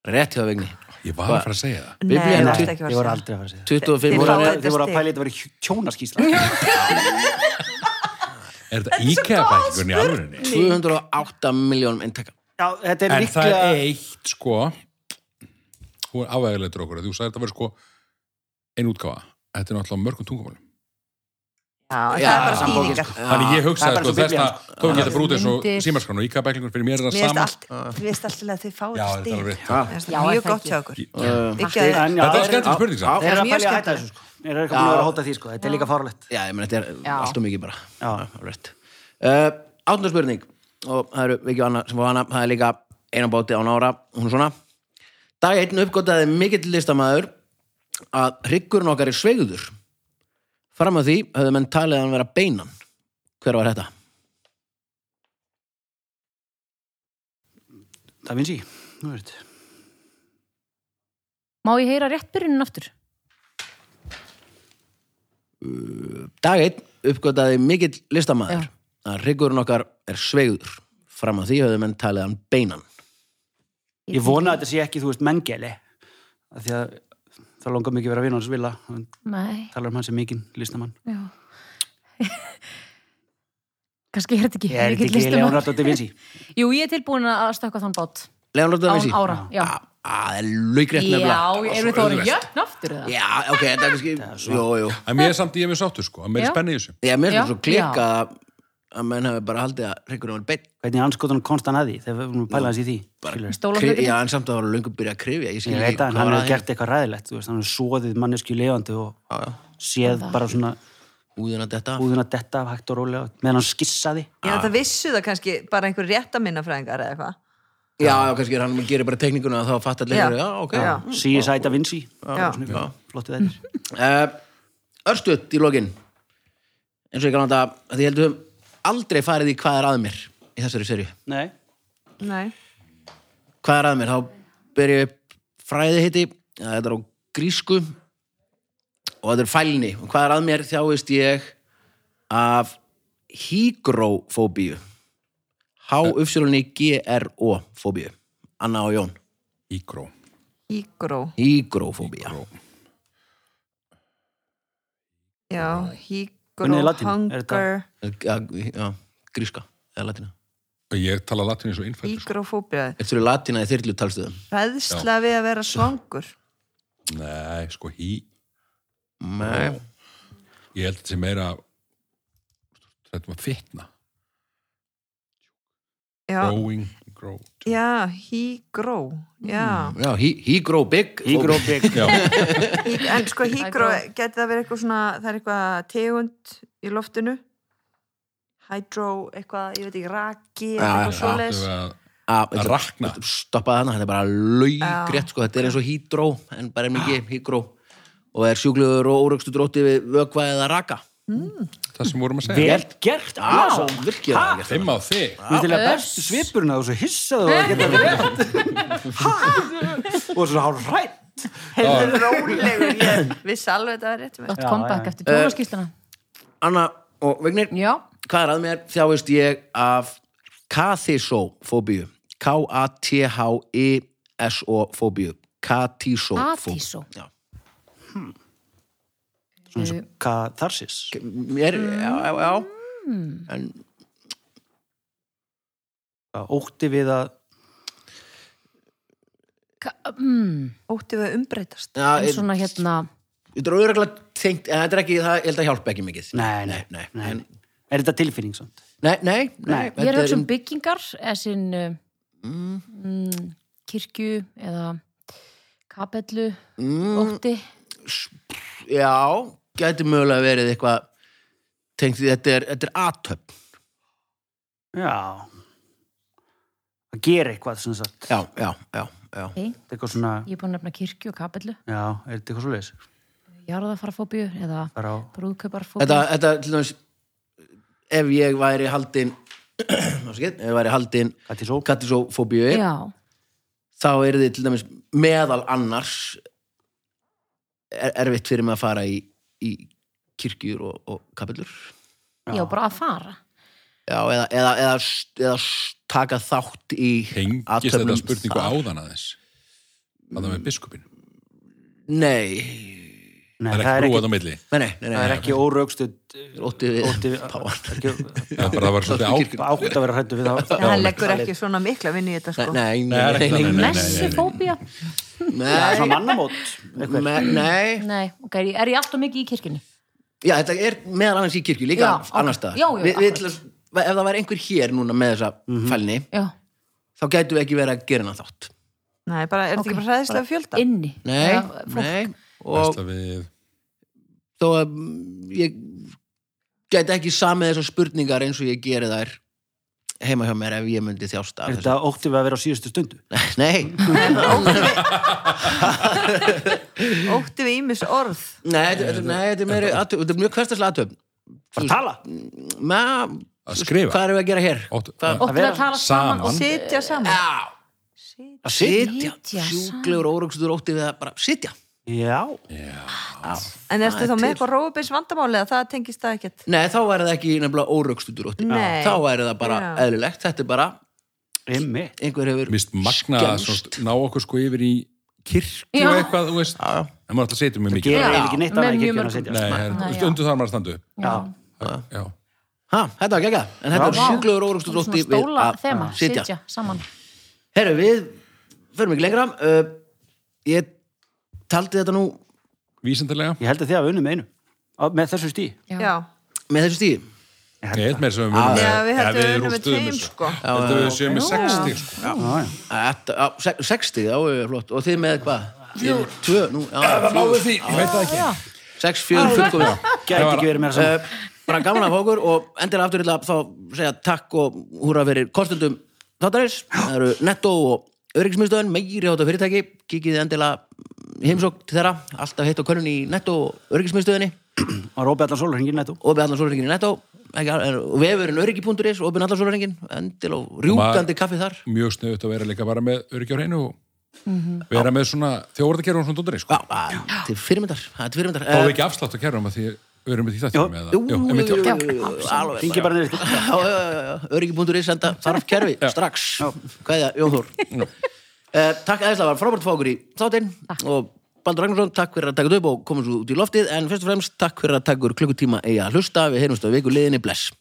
S1: rétt hjá vegni
S2: Ég var að fara að segja það
S3: Nei,
S1: Biblían
S3: það
S1: er
S3: ertu
S1: tut-
S3: ekki að
S4: Ég
S3: fara
S4: var
S3: að
S4: aldrei að fara að segja það.
S1: 25
S4: Þið
S3: Þeir
S1: ára
S3: fá
S4: voru
S1: er-
S4: að- þið voru að pæla í þetta að vera kjónaskýsla.
S2: Er þetta IKEA-bækurinn í alvörinni?
S1: 208 miljónum eintaka
S4: Já, þetta er
S2: En það
S4: líklega...
S2: er eitt, sko Þú er afæðilegtur okkur Þú sagði þetta verið sko ein útgáfa Þetta er náttúrulega á mörgum tungumálum
S3: Já, en
S1: Já,
S3: það er bara
S1: sambókin,
S3: skýringar
S2: Þannig ég
S4: það
S2: hugsaði
S4: er bara
S2: sko
S4: eins og
S2: þess
S4: Biblían,
S2: að tók ég þetta bara út eins og
S5: Myndir.
S2: símaskránu og IKEA-bæklingur fyrir mér er það
S3: Mér finnst
S2: sama
S3: allt, mér finnst alltaf að þið fáið
S2: Já,
S3: þetta
S2: þetta er
S3: stíl
S2: alveg rétt.
S3: Mér finnst
S5: Já,
S3: það
S5: er
S3: mjög
S5: það
S3: gott
S5: ekki?
S3: hjá okkur
S1: Uh,
S3: Ekki að
S4: En já,
S2: Þetta var
S4: þeir-
S2: skemmtileg spurning
S1: Já.
S2: samt
S4: Þeir eru að
S3: mjög skemmtilegt.
S4: pæla í að hætta þessu, sko. Þeir eru ekki búin að vera að hóta því, sko. Þetta er líka farlegt.
S1: Já, ég meina, þetta er
S5: Já.
S1: allt og mikið bara.
S4: Já.
S1: Rétt. Uh, Áttundur spurning, og það eru ekki annað sem var hana, það er líka einan báti án ára, hún er svona. Dag einn uppgótaði mikill listamaður að hryggurinn okkar er sveigður. Fram að því höfðu menn talið að hann vera beinan. Hver var þetta?
S4: Da Vinci, nú veit
S5: Má ég heyra rétt byrjunin aftur?
S1: Dag einn uppgötaði mikill listamaður
S5: Já.
S1: að hryggurinn okkar er sveigður. Fram að því höfðu menn talið hann beinan.
S4: Ég vona að þetta sé ekki, þú veist, menngeli af því að það langar mikið að vera vinn hans vilja hann
S5: Nei,
S4: talar um hann sem mikinn listamann
S5: já. Kannski er þetta ekki.
S4: Ég er
S5: mikill
S4: þetta ekki
S5: listamaður.
S4: Leonardo da Vinci
S5: Jú, ég er tilbúin að stökkva þann bát.
S1: Leonardo da Vinci.
S5: Án ára, já.
S1: Á- Það er laugrætt nefnilega.
S5: Já, erum við þá orðin jöfn aftur eða?
S1: Já, ok, þetta er kannski... Jú, jú.
S2: En mér er samt, ég er mjög sáttur sko, að mér
S5: Já.
S2: er spennið þessu.
S1: Já, mér
S5: Já.
S1: finnst svo klikka að- að menn hafi bara haldið að hryggurinn var beinn.
S4: Hvernig anskotan komst hann að því þegar við erum að pæla hans í því skilurðu?
S1: Kri-
S5: Stólahlaupunum?
S1: Já, en samt að það var löngum byrjað að krifja. Ég skil
S4: Ég
S1: ekki
S4: veit að
S1: hvað
S4: hann
S1: var
S4: hefur
S1: að
S4: gert eitthvað ræðilegt þú veist, hann hefur soðið mannesku lifandi og
S1: Já, já.
S4: séð bara svona
S1: Úðina þetta.
S4: húðuna detta af hægt og rólega meðan hann skissaði
S3: Ég held að vissu það kannski bara einhver rétta minnafræðingar eða eitthvað.
S1: Já, já, kannski er hann að gera bara tekninguna og þá fattar
S3: Já.
S1: leikur. Já, ok.
S3: Já.
S4: CSI Da Mm. Vinci
S3: Já.
S4: svona flottu þetta
S1: Uh, örstuðt í lokin eins og ég kannan þetta að ég heldum aldrei farið í hvað er að mér í þessari serju
S4: Nei,
S3: Nei.
S1: hvað er að mér, þá ber ég upp fræði heiti, þetta er á grísku og þetta er fælni og hvað er að mér þjáist ég af hígrófóbíu H-U-G-R-O fóbíu Anna og Jón,
S2: Ígró.
S3: Ígró.
S1: hígrófóbía
S3: Já, hígró,
S4: Hvernig er latín? Er þetta-
S3: hunger,
S1: Já, já, gríska, eða latina
S2: Ég tala latin eins og innfættur.
S3: ígrófóbía.
S1: Þetta eru latina í þyrlu talstöðum
S3: Ræðsla við að vera svangur.
S2: Nei, sko, hí.
S1: Nei
S2: Ég held þetta sem meira þetta var fitna.
S3: Já,
S2: Growing, grow.
S3: já hígró. Já.
S1: Já, he, he grow big
S4: he grow big
S2: Já,
S3: Hí, en sko hígró,
S5: Hydro.
S3: geti það verið eitthvað svona, það er eitthvað tegund í loftinu. Hydro, eitthvað, ég veit ekki, raki,
S1: Já,
S3: eða eitthvað
S1: já,
S3: svoleiðis.
S2: að,
S1: að,
S2: að rakna.
S1: Stoppaði hana, þetta er bara laugrétt sko, þetta er eins og hídró en bara er mikið hígró og er sjúklegur og órökstu drótti við vökva eða raka
S2: Það sem vorum að segja.
S4: Vel gert,
S1: Já,
S4: Larsson.
S1: virkilega vel gert.
S2: Fimm á þig.
S4: Þú veist til að bestu svipurinn að þú svo hissaðu og geta rétt og svo hár rætt
S3: Heyrðu rólegur, ég vissi alveg þetta var rétt með.
S5: Gott comeback
S1: Eh,
S5: eftir bjóðarskýsluna.
S1: Anna og Vignir,
S5: Já,
S1: hvað er að mér þjáist ég af kathysofóbíu E K-A-T-H-I-S-O-fóbíu Kathysofóbíu
S5: Kathysó.
S1: Já.
S5: Eh,
S4: Katharsis
S1: Mér,
S5: Mm.
S1: já, já, já en
S4: ótti við að
S5: Ka- mm,
S3: Ótti við að umbreytast.
S1: Já,
S5: en
S1: ég-
S5: svona hérna,
S1: þetta er auðvitað tengt, en þetta er ekki, það, ég held að hjálpa ekki mikið
S4: nei, nei,
S1: nei,
S4: nei,
S1: en-
S4: er þetta tilfinning samt?
S1: Nei, nei, nei,
S4: Nei.
S5: ég er
S1: þetta
S5: að hugsa um byggingar, eða sinn mm. mm, kirkju eða kapellu,
S1: Mm.
S5: ótti.
S1: Já, gæti mögulega verið eitthvað tengt því þetta er, þetta er aðtöp
S4: Já að gera eitthvað sem sagt
S1: Já, já, já, já
S5: Okay.
S4: Þetta er eitthvað svona,
S5: Ég er búin að nefna kirkju og kapellu,
S4: já, er þetta eitthvað svo leis
S5: jarðafarafóbíu eða
S4: bara á
S5: brúðkauparfóbíu.
S1: Þetta, þetta til dæmis ef ég væri haldin afsakið, ef ég væri haldin
S4: Kati Só
S1: katisofóbíu
S5: Já,
S1: þá er þið til dæmis meðal annars er, erfitt fyrir mig að fara í, í kirkjur og, og kapillur
S5: já, bara að fara.
S1: Já, eða, eða, eða, eða taka þátt í
S2: Hengist
S1: athöfnum
S2: þetta spurningu
S1: þar.
S2: áðan aðeins. Að það með biskupin.
S1: Nei,
S4: Nei,
S2: Það er ekki brúað á milli.
S1: nei, nei, nei, nei,
S4: það er ekki óraugstuð
S1: Ótti við,
S4: Ótti við-
S1: páfann
S4: ekki
S2: Það er bara að vera svolítið á...
S4: átt að vera hrættu við þá
S3: En hann leggur ekki svona mikla vinni í þetta
S1: Nei,
S3: sko.
S1: nei,
S2: Nei,
S1: nei,
S2: nei,
S1: nei,
S2: nei, nei.
S5: Messufóbía?
S4: Það er
S1: nei,
S4: svona mannamót eitthvað.
S1: nei, nei.
S5: Nei, ok, er ég- er ég alltaf mikið í kirkjunni?
S1: Já, þetta er meðal annars í kirkju, líka
S5: Já, ok.
S1: annars staðar
S5: Já, já,
S1: Vi, við,
S5: akkurat.
S1: til að- Ef það væri einhver hér núna með þessa fælni
S5: Já.
S1: þá gætu við ekki verið að gera hana þátt
S3: Nei, bara, er þetta ekki bara hræðislega fjölda?
S5: Inni.
S1: Nei,
S5: Eða fólk.
S1: nei og
S2: Vesla við...
S1: þó að mm, ég gæti ekki samið þessar spurningar eins og ég geri þær heima hjá mér ef ég myndi þjásta af
S4: Er þetta óttið við að vera á síðustu stundu?
S1: þessu. Nei,
S3: Ótti við ímis orð
S1: nei, þetta- þetta- nei, þetta er meiri athöfn- þetta er mjög hverstaslega aðtöfn.
S4: Bara tala?
S2: Að skrifa.
S1: Hvað erum við að gera hér?
S2: Óttu-
S1: Hvað-
S5: Óttum við að tala saman,
S2: Saman.
S5: og
S3: Sitja saman
S1: Já,
S3: Sitja.
S4: Að
S1: sitja.
S5: Sitja
S1: Sjúklegur órugstuður ótti við að bara sitja.
S4: Já.
S3: En ertu
S1: Það er
S3: þá með
S1: til.
S3: eitthvað rófubins vandamáli eða það tengist það ekkert
S1: Nei, þá væri það ekki nefnilega órugstuður ótti.
S3: Nei.
S1: Þá væri það bara
S3: Já.
S1: eðlilegt. Þetta er bara,
S4: Ymmi.
S1: einhver hefur
S2: mist magna að
S1: skemmst.
S2: svona ná okkur sko yfir í kirkju
S5: Já.
S2: og eitthvað, þú veist
S1: já.
S2: en maður alltaf setjum mjög
S4: Það
S2: mikið
S4: gerir
S5: Já.
S4: eiginlega ekki neitt
S5: Með
S4: annað ekki ekki
S5: mjög
S4: að
S5: mörgum.
S4: sitja.
S2: Nei,
S5: Nei,
S2: er-
S5: já.
S2: undir þar maður að standu upp
S4: Já.
S2: já,
S1: Ha, þetta var gegga, en þetta
S4: Já.
S1: er sjúklegur órugstuður
S5: svona
S1: ótti við
S5: stóla
S1: að
S5: þema,
S1: sitja.
S5: sitja saman
S1: Herru, við förum ekki lengra. Uh, ég taldi þetta nú
S2: vísindalega
S4: Ég held að þið hafa unnið með einu. Á- Með þessu stí.
S5: Já.
S3: Já,
S1: með þessu stíði.
S2: ég held meira sem við munum
S3: Já, við heldum við
S2: við
S3: unnum með
S2: rústuðum
S3: tveim,
S2: þessu.
S3: sko.
S2: Ég held að við séum með
S5: Já.
S2: 60 sko.
S1: Þetta- á, se- 60, já, já, flott. Og þið með hvað? Þið með Tvö, nú, já,
S2: náðu
S1: fjögur.
S2: því, ég veit það ekki
S1: 6, 4, 5, já.
S4: Gæti ekki verið meira saman.
S1: Eh, Bara gaman af okkur og endilega afturilla þá segja takk og húra fyrir kostendum þáttarins. Það eru Netto og Öryggismiðstöðin, meiri hátta fyrirtæki. Kikið endilega heimsókn til þeirra. Alltaf heitt á könnun í Netto og Öryggismiðstöðinni.
S4: Og Róbi allan sólurhingin nættu.
S1: opið allan sólarringin í netto ekki, er, og vefurinn öryggi.is, opið allan sólurringin endil og rjúkandi
S2: Maður-
S1: kaffi þar
S2: mjög sniðut að vera líka bara með öryggi á hreinu og vera með svona þjóðvartakerfum svona dóttir sko.
S1: Já, að- til fyrirmyndar, það er til fyrirmyndar
S2: þá
S1: Eh,
S2: er ekki afslátt að kerfum að því við erum með því
S4: Jú.
S2: þættinum eða-
S1: jú,
S2: Jú, einmitt, já.
S1: jú,
S5: já.
S1: jú, alveg
S4: Hingi bara niður. sko.
S1: Já, já, já, já, öryggi.is enda þarf kerfi strax hvaðja, Jón Þór
S2: Já.
S1: Eh, Takk aðeinslega, var frábært að fá okkur í þáttinn og Baldur Ragnarsson, takk fyrir að taka þetta upp og koma svo út í loftið en fyrst og fremst takk fyrir að taka okkur klukkutíma eiga að hlusta, við heyrumst á viku liðinni, bless